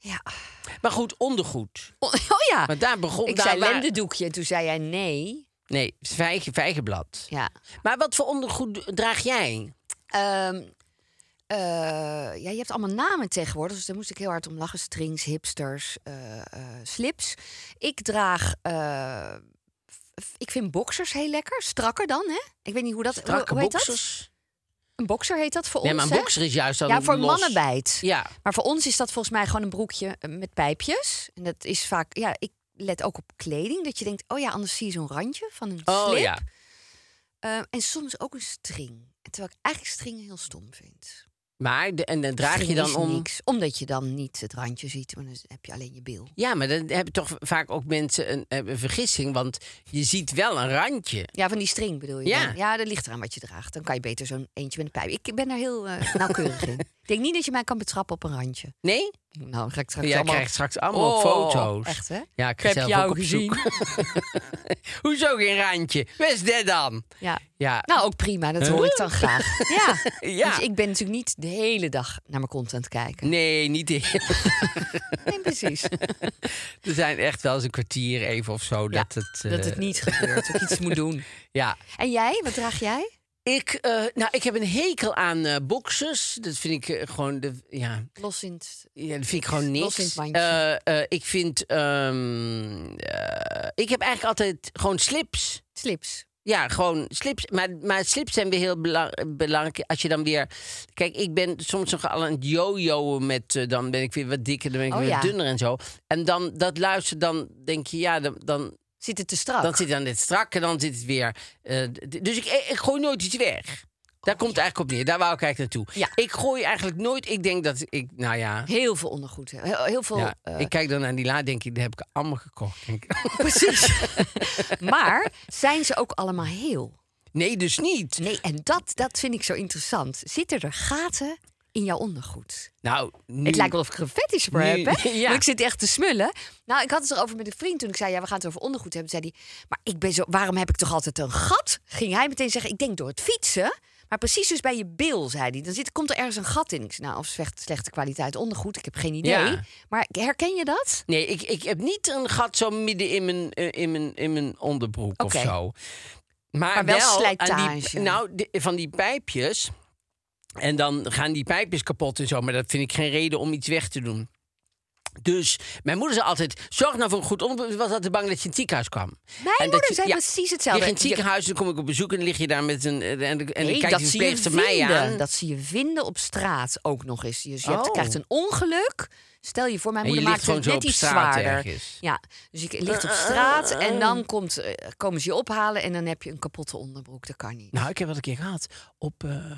[SPEAKER 3] Ja.
[SPEAKER 2] Maar goed, ondergoed.
[SPEAKER 3] Oh, oh ja.
[SPEAKER 2] Maar daar begon-
[SPEAKER 3] Ik
[SPEAKER 2] daar
[SPEAKER 3] zei
[SPEAKER 2] waar-
[SPEAKER 3] lendendoekje en toen zei jij nee.
[SPEAKER 2] Nee, vijgen, vijgenblad.
[SPEAKER 3] Ja.
[SPEAKER 2] Maar wat voor ondergoed draag jij?
[SPEAKER 3] Ehm, eh, ja, je hebt allemaal namen tegenwoordig, dus daar moest ik heel hard om lachen. Strings, hipsters, eh, eh, slips. Ik draag... eh, f- ik vind boxers heel lekker. Strakker dan, hè? Ik weet niet hoe dat... hoe-
[SPEAKER 2] Strakke
[SPEAKER 3] hoe heet dat?
[SPEAKER 2] boxers?
[SPEAKER 3] Een boxer heet dat voor
[SPEAKER 2] Nee,
[SPEAKER 3] ons,
[SPEAKER 2] maar een
[SPEAKER 3] hè?
[SPEAKER 2] boxer is juist dan
[SPEAKER 3] Ja, voor
[SPEAKER 2] los.
[SPEAKER 3] mannen bijt.
[SPEAKER 2] Ja.
[SPEAKER 3] Maar voor ons is dat volgens mij gewoon een broekje eh, met pijpjes. En dat is vaak... Ja, ik let ook op kleding. Dat je denkt, oh ja, anders zie je zo'n randje van een
[SPEAKER 2] Oh
[SPEAKER 3] slip.
[SPEAKER 2] ja.
[SPEAKER 3] Eh, en soms ook een string. Terwijl ik eigenlijk string heel stom vind.
[SPEAKER 2] Maar, de- en dan draag je
[SPEAKER 3] String
[SPEAKER 2] dan
[SPEAKER 3] is
[SPEAKER 2] om...
[SPEAKER 3] niks, omdat je dan niet het randje ziet, maar dan heb je alleen je bil.
[SPEAKER 2] Ja, maar dan hebben toch vaak ook mensen een, eh, een vergissing. Want je ziet wel een randje.
[SPEAKER 3] Ja, van die string bedoel je?
[SPEAKER 2] Ja.
[SPEAKER 3] dan? ja dat ligt eraan wat je draagt. Dan kan je beter zo'n eentje met een pijp. Ik ben daar heel eh, nauwkeurig in. Ik denk niet dat je mij kan betrappen op een randje.
[SPEAKER 2] Nee?
[SPEAKER 3] Nou, dan ga ik straks
[SPEAKER 2] Jij
[SPEAKER 3] allemaal...
[SPEAKER 2] krijgt straks allemaal
[SPEAKER 3] Oh,
[SPEAKER 2] foto's.
[SPEAKER 3] Echt, hè?
[SPEAKER 2] Ja, ik
[SPEAKER 3] Ik
[SPEAKER 2] ga
[SPEAKER 3] heb
[SPEAKER 2] zelf
[SPEAKER 3] jou
[SPEAKER 2] ook op zoek. Hoezo geen randje? Wat is dit dan?
[SPEAKER 3] Ja.
[SPEAKER 2] Ja.
[SPEAKER 3] Nou, ook prima. Dat hoor ik dan graag. Ja.
[SPEAKER 2] Ja.
[SPEAKER 3] Dus ik ben natuurlijk niet de hele dag naar mijn kont aan het kijken.
[SPEAKER 2] Nee, niet heel.
[SPEAKER 3] Nee, precies.
[SPEAKER 2] Er zijn echt wel eens een kwartier even of zo dat
[SPEAKER 3] Ja,
[SPEAKER 2] het... eh,
[SPEAKER 3] dat het niet gebeurt. Dat ik iets moet doen.
[SPEAKER 2] Ja.
[SPEAKER 3] En jij? Wat draag jij?
[SPEAKER 2] Ik, eh, nou, ik heb een hekel aan eh boxers. Dat vind ik eh, gewoon... De, ja,
[SPEAKER 3] Los in het...
[SPEAKER 2] Ja, dat vind ik
[SPEAKER 3] Los
[SPEAKER 2] gewoon
[SPEAKER 3] in het
[SPEAKER 2] niks.
[SPEAKER 3] mandje.
[SPEAKER 2] Eh, eh, ik vind. ehm, eh, ik heb eigenlijk altijd gewoon slips.
[SPEAKER 3] Slips.
[SPEAKER 2] Ja, gewoon slips. Maar, maar slips zijn weer heel bela- belangrijk. Als je dan weer. Kijk, ik ben soms nog al aan het jojoen met. eh, dan ben ik weer wat dikker, dan ben ik
[SPEAKER 3] Oh,
[SPEAKER 2] weer
[SPEAKER 3] ja.
[SPEAKER 2] dunner en zo. En dan dat luisteren, dan denk je, ja, dan, dan,
[SPEAKER 3] Zit het te strak?
[SPEAKER 2] dan zit dan dit strak en dan zit het weer. eh, d- dus ik, ik gooi nooit iets weg. Daar komt het eigenlijk op neer. Daar wou ik eigenlijk naartoe.
[SPEAKER 3] Ja.
[SPEAKER 2] Ik gooi eigenlijk nooit. Ik denk dat ik. Nou ja.
[SPEAKER 3] Heel veel ondergoed. hè. Heel, heel veel.
[SPEAKER 2] Ja,
[SPEAKER 3] eh,
[SPEAKER 2] ik kijk dan naar die la, denk ik, die heb ik allemaal gekocht. Denk ik,
[SPEAKER 3] precies. maar zijn ze ook allemaal heel?
[SPEAKER 2] nee, dus niet.
[SPEAKER 3] Nee, en dat, dat vind ik zo interessant. Zitten er gaten in jouw ondergoed?
[SPEAKER 2] Nou, nu-
[SPEAKER 3] Het lijkt wel of ik er een fetish voor
[SPEAKER 2] Nu-
[SPEAKER 3] heb, hè?
[SPEAKER 2] Ja.
[SPEAKER 3] Want ik zit echt te smullen. Nou, ik had het erover met een vriend toen ik zei... ja, we gaan het over ondergoed hebben. Toen zei hij, maar ik ben zo, waarom heb ik toch altijd een gat? Ging hij meteen zeggen, ik denk door het fietsen. Maar precies dus bij je bil, zei hij. Dan zit, komt er ergens een gat in. Ik zei, nou, of slecht, slechte kwaliteit ondergoed, ik heb geen idee.
[SPEAKER 2] Ja.
[SPEAKER 3] Maar herken je dat?
[SPEAKER 2] Nee, ik, ik heb niet een gat zo midden in mijn, eh, in mijn, in mijn onderbroek
[SPEAKER 3] Oké.
[SPEAKER 2] of zo.
[SPEAKER 3] Maar wel
[SPEAKER 2] aan die,
[SPEAKER 3] slijtage.
[SPEAKER 2] Nou, de- van die pijpjes. En dan gaan die pijpjes kapot en zo. Maar dat vind ik geen reden om iets weg te doen. Dus mijn moeder zei altijd: zorg nou voor een goed onderbroek. Ze was altijd bang dat je in het ziekenhuis kwam.
[SPEAKER 3] Mijn
[SPEAKER 2] En dat
[SPEAKER 3] moeder
[SPEAKER 2] je-
[SPEAKER 3] zei dus-
[SPEAKER 2] ja,
[SPEAKER 3] precies
[SPEAKER 2] Je
[SPEAKER 3] hetzelfde.
[SPEAKER 2] ging in het
[SPEAKER 3] Je-
[SPEAKER 2] ziekenhuis, dan kom ik op bezoek en dan lig je daar met een. eh, En, en dan
[SPEAKER 3] Nee,
[SPEAKER 2] kijkt
[SPEAKER 3] dat
[SPEAKER 2] die
[SPEAKER 3] zie je
[SPEAKER 2] verpleegster mij
[SPEAKER 3] vinden.
[SPEAKER 2] aan.
[SPEAKER 3] Dat zie je vinden op straat ook nog eens. Dus je hebt-
[SPEAKER 2] Oh.
[SPEAKER 3] krijgt een ongeluk. Stel je voor, mijn
[SPEAKER 2] En je
[SPEAKER 3] moeder
[SPEAKER 2] ligt
[SPEAKER 3] maakt het
[SPEAKER 2] gewoon zo
[SPEAKER 3] net
[SPEAKER 2] op
[SPEAKER 3] iets
[SPEAKER 2] straat
[SPEAKER 3] zwaarder.
[SPEAKER 2] ergens.
[SPEAKER 3] Ja, dus je ligt op straat en dan komt, eh, komen ze je ophalen en dan heb je een kapotte onderbroek. Dat kan niet.
[SPEAKER 2] Nou, ik heb dat een keer gehad. Op, eh,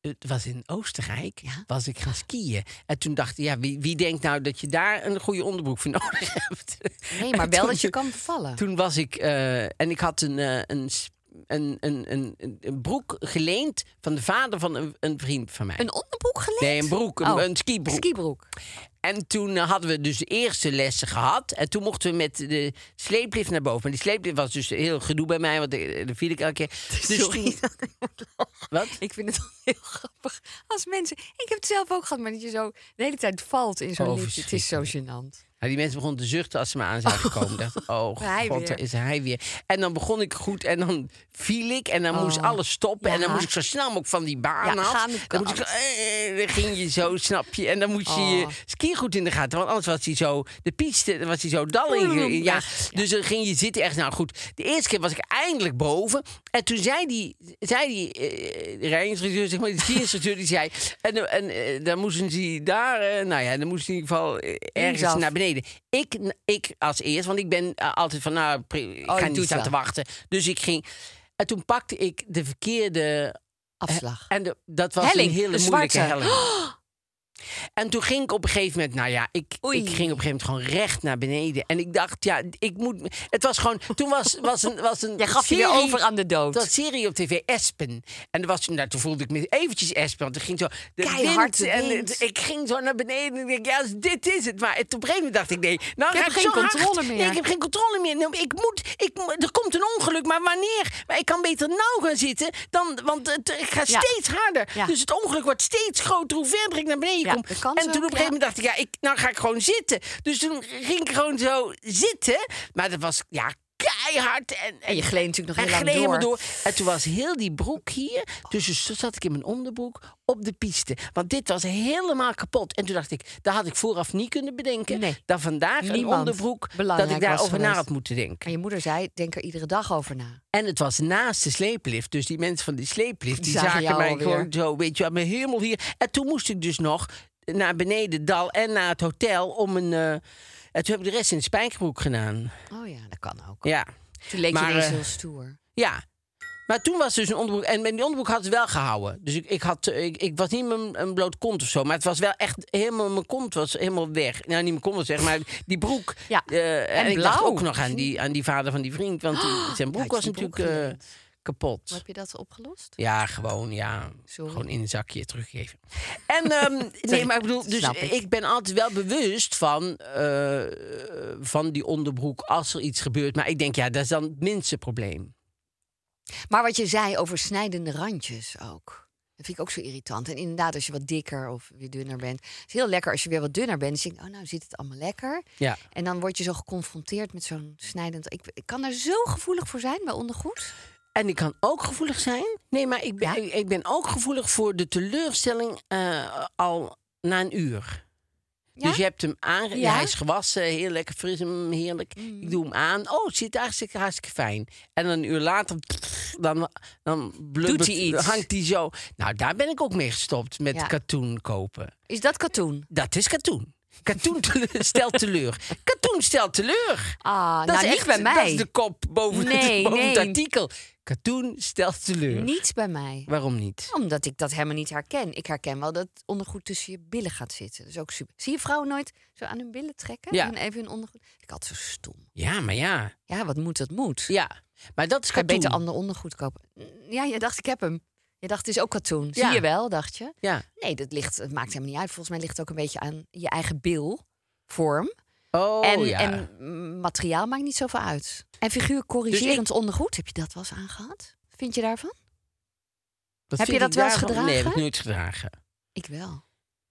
[SPEAKER 2] het was in Oostenrijk,
[SPEAKER 3] Ja?
[SPEAKER 2] was ik gaan skiën. En toen dacht ik, ja, wie, wie denkt nou dat je daar een goede onderbroek voor nodig hebt?
[SPEAKER 3] Nee,
[SPEAKER 2] En
[SPEAKER 3] maar wel
[SPEAKER 2] toen-
[SPEAKER 3] dat je kan vallen.
[SPEAKER 2] Toen was ik, eh, en ik had een, eh, een, s- een, een, een, een- een broek geleend van de vader van een, een vriend van mij.
[SPEAKER 3] Een onderbroek geleend?
[SPEAKER 2] Nee, een broek, een-
[SPEAKER 3] Oh,
[SPEAKER 2] een skibroek.
[SPEAKER 3] skibroek.
[SPEAKER 2] En toen eh, hadden we dus de eerste lessen gehad. En toen mochten we met de sleeplift naar boven. Maar die sleeplift was dus heel gedoe bij mij, want eh, daar viel ik elke keer. Dus
[SPEAKER 3] Sorry
[SPEAKER 2] toen-
[SPEAKER 3] dat ik moet lachen.
[SPEAKER 2] Wat?
[SPEAKER 3] Ik vind het wel heel grappig. Als mensen... Ik heb het zelf ook gehad, maar dat je zo de hele tijd valt in zo'n
[SPEAKER 2] Oh,
[SPEAKER 3] lift. Het is zo gênant.
[SPEAKER 2] Ja, die mensen begonnen te zuchten als ze me aan zagen komen. Ik dacht, oh
[SPEAKER 3] Hij
[SPEAKER 2] god,
[SPEAKER 3] weer.
[SPEAKER 2] daar is hij weer. En dan begon ik goed en dan viel ik en dan moest
[SPEAKER 3] Oh,
[SPEAKER 2] alles stoppen. En dan
[SPEAKER 3] ja.
[SPEAKER 2] moest ik zo snel mogelijk van die baan
[SPEAKER 3] Ja,
[SPEAKER 2] af.
[SPEAKER 3] gaan de
[SPEAKER 2] Dan, moest ik,
[SPEAKER 3] kant.
[SPEAKER 2] eh, eh, dan ging je zo, snap je. En dan moest je je
[SPEAKER 3] Oh.
[SPEAKER 2] ski goed in de gaten. Want anders was hij zo, de piste, dan was hij zo dal in. Ja,
[SPEAKER 3] Echt, ja.
[SPEAKER 2] dus dan ging je zitten echt, nou goed. De eerste keer was ik eindelijk boven. En toen zei die, zei die eh, rijinstructeur, zeg maar, die ski-instructeur, die zei... En, eh, en eh, dan moesten ze daar, eh, nou ja, dan moest in ieder geval eh, ergens
[SPEAKER 3] Linksaf.
[SPEAKER 2] naar beneden. Ik, ik als eerst, want ik ben eh, altijd van, nou, pri- ik
[SPEAKER 3] je
[SPEAKER 2] ga
[SPEAKER 3] Oh, doet
[SPEAKER 2] niet staan
[SPEAKER 3] wel.
[SPEAKER 2] te wachten. Dus ik ging... En toen pakte ik de verkeerde...
[SPEAKER 3] Afslag.
[SPEAKER 2] En de- dat was
[SPEAKER 3] Helling,
[SPEAKER 2] een hele
[SPEAKER 3] een
[SPEAKER 2] moeilijke
[SPEAKER 3] zwarte.
[SPEAKER 2] helling. En toen ging ik op een gegeven moment, nou ja, ik, ik
[SPEAKER 3] Oei.
[SPEAKER 2] ging op een gegeven moment gewoon recht naar beneden. En ik dacht, ja, ik moet. Het was gewoon. Toen was, was een. Was een
[SPEAKER 3] Jij gaf je weer
[SPEAKER 2] serie-
[SPEAKER 3] over aan de dood.
[SPEAKER 2] Dat serie op tv, Espen. En er was, nou, toen voelde ik me eventjes Espen. Want er ging zo. De
[SPEAKER 3] Keihard de
[SPEAKER 2] en
[SPEAKER 3] wind.
[SPEAKER 2] het- ik ging zo naar beneden. En ik dacht, ja, dit is het. Maar op een gegeven moment dacht ik, nee, nou,
[SPEAKER 3] Ik heb
[SPEAKER 2] ga
[SPEAKER 3] geen
[SPEAKER 2] zo hard.
[SPEAKER 3] controle meer.
[SPEAKER 2] Nee, ik heb geen controle meer. Nou, ik moet, ik, moet- er komt een ongeluk, maar wanneer? Maar ik kan beter nou gaan zitten, dan, want het, ik ga
[SPEAKER 3] Ja.
[SPEAKER 2] steeds harder.
[SPEAKER 3] Ja.
[SPEAKER 2] Dus het ongeluk wordt steeds groter hoe verder ik naar beneden kom.
[SPEAKER 3] dat kan
[SPEAKER 2] en
[SPEAKER 3] zo,
[SPEAKER 2] toen op een
[SPEAKER 3] ja.
[SPEAKER 2] gegeven moment dacht ik, ja, ik, nou ga ik gewoon zitten. Dus toen ging ik gewoon zo zitten. Maar dat was, ja, keihard. En,
[SPEAKER 3] En je gleed natuurlijk nog heel
[SPEAKER 2] en
[SPEAKER 3] lang
[SPEAKER 2] gleed helemaal
[SPEAKER 3] door.
[SPEAKER 2] door. En toen was heel die broek hier. Dus zo zat ik in mijn onderbroek op de piste. Want dit was helemaal kapot. En toen dacht ik, dat had ik vooraf niet kunnen bedenken.
[SPEAKER 3] Nee.
[SPEAKER 2] Dat vandaag een
[SPEAKER 3] Niemand
[SPEAKER 2] onderbroek, dat
[SPEAKER 3] belangrijk
[SPEAKER 2] ik
[SPEAKER 3] was
[SPEAKER 2] daarover na
[SPEAKER 3] geweest.
[SPEAKER 2] had moeten denken.
[SPEAKER 3] En je moeder zei, denk er iedere dag over na.
[SPEAKER 2] En het was naast de sleeplift. Dus die mensen van die sleeplift, die
[SPEAKER 3] Zagen
[SPEAKER 2] zagen,
[SPEAKER 3] jou
[SPEAKER 2] mij
[SPEAKER 3] alweer.
[SPEAKER 2] gewoon zo, weet je, wel, mijn hemel hier. En toen moest ik dus nog naar beneden het dal en naar het hotel om een... eh, en toen heb ik de rest in de spijkerbroek gedaan.
[SPEAKER 3] Oh ja, dat kan ook.
[SPEAKER 2] Ja.
[SPEAKER 3] Toen leek
[SPEAKER 2] Maar,
[SPEAKER 3] je ineens
[SPEAKER 2] eh,
[SPEAKER 3] heel stoer.
[SPEAKER 2] Ja. Maar toen was dus een onderbroek. En die onderbroek had het wel gehouden. Dus ik, ik, had, eh, ik, ik was niet mijn een bloot kont of zo. Maar het was wel echt helemaal. Mijn kont was helemaal weg. Nou, niet mijn kont was weg, maar die broek.
[SPEAKER 3] Ja.
[SPEAKER 2] eh, en
[SPEAKER 3] En
[SPEAKER 2] ik dacht
[SPEAKER 3] blauw.
[SPEAKER 2] ook nog aan die, aan die vader van die vriend. Want die- zijn broek
[SPEAKER 3] had
[SPEAKER 2] was
[SPEAKER 3] je broek
[SPEAKER 2] natuurlijk eh,
[SPEAKER 3] geruild. Hoe
[SPEAKER 2] kapot.
[SPEAKER 3] heb je dat opgelost?
[SPEAKER 2] Ja, gewoon, ja.
[SPEAKER 3] Sorry.
[SPEAKER 2] Gewoon in een zakje teruggeven. En ehm, nee, maar ik bedoel, dus
[SPEAKER 3] Snap ik.
[SPEAKER 2] ik ben altijd wel bewust van, eh, van die onderbroek als er iets gebeurt. Maar ik denk, ja, dat is dan het minste probleem.
[SPEAKER 3] Maar wat je zei over snijdende randjes ook. Dat vind ik ook zo irritant. En inderdaad, als je wat dikker of weer dunner bent. Het is heel lekker als je weer wat dunner bent. Dan denk je, oh nou zit het allemaal lekker.
[SPEAKER 2] Ja.
[SPEAKER 3] En dan word je zo geconfronteerd met zo'n snijdend... Ik, ik kan daar zo gevoelig voor zijn bij ondergoed.
[SPEAKER 2] En ik kan ook gevoelig zijn. Nee, maar ik ben,
[SPEAKER 3] Ja?
[SPEAKER 2] ik, ik ben ook gevoelig voor de teleurstelling eh, al na een uur.
[SPEAKER 3] Ja?
[SPEAKER 2] Dus je hebt hem aan.
[SPEAKER 3] Ja?
[SPEAKER 2] Hij is gewassen, heel lekker fris, mm, heerlijk. Ik doe hem aan. Oh, het zit hartstikke, hartstikke fijn. En dan een uur later, pff, dan, dan blubbert-
[SPEAKER 3] hij iets?
[SPEAKER 2] hangt hij zo. Nou, daar ben ik ook mee gestopt met
[SPEAKER 3] Ja.
[SPEAKER 2] katoen kopen.
[SPEAKER 3] Is dat katoen?
[SPEAKER 2] Dat is katoen. Katoen tele- stelt teleur. Katoen stelt teleur.
[SPEAKER 3] Ah,
[SPEAKER 2] dat
[SPEAKER 3] nou,
[SPEAKER 2] is
[SPEAKER 3] niet
[SPEAKER 2] echt-
[SPEAKER 3] bij
[SPEAKER 2] Dat
[SPEAKER 3] mij.
[SPEAKER 2] is de kop boven,
[SPEAKER 3] Nee,
[SPEAKER 2] boven het
[SPEAKER 3] nee.
[SPEAKER 2] artikel. Katoen stelt teleur.
[SPEAKER 3] Niet bij mij.
[SPEAKER 2] Waarom niet?
[SPEAKER 3] Omdat ik dat helemaal niet herken. Ik herken wel dat ondergoed tussen je billen gaat zitten. Dat is ook super. Zie je vrouwen nooit zo aan hun billen trekken?
[SPEAKER 2] Ja.
[SPEAKER 3] En even hun ondergoed. Ik had zo stom.
[SPEAKER 2] Ja, maar ja.
[SPEAKER 3] Ja, wat moet, dat moet.
[SPEAKER 2] Ja, maar dat is
[SPEAKER 3] Ik ga
[SPEAKER 2] katoen.
[SPEAKER 3] beter ander ondergoed kopen. Ja, je dacht, ik heb hem. Je dacht, het is ook katoen.
[SPEAKER 2] Ja.
[SPEAKER 3] Zie je wel, dacht je.
[SPEAKER 2] Ja.
[SPEAKER 3] Nee, dat ligt, het maakt helemaal niet uit. Volgens mij ligt het ook een beetje aan je eigen bilvorm.
[SPEAKER 2] Oh
[SPEAKER 3] en,
[SPEAKER 2] ja.
[SPEAKER 3] en mm, materiaal maakt niet zoveel uit. En figuur
[SPEAKER 2] Dus
[SPEAKER 3] corrigerend ondergoed, heb je dat wel eens aangehad? Vind je daarvan?
[SPEAKER 2] Wat
[SPEAKER 3] heb
[SPEAKER 2] vind
[SPEAKER 3] je
[SPEAKER 2] ik
[SPEAKER 3] dat wel eens
[SPEAKER 2] daarvan? Nee, heb ik
[SPEAKER 3] gedragen?
[SPEAKER 2] nooit gedragen.
[SPEAKER 3] Ik wel.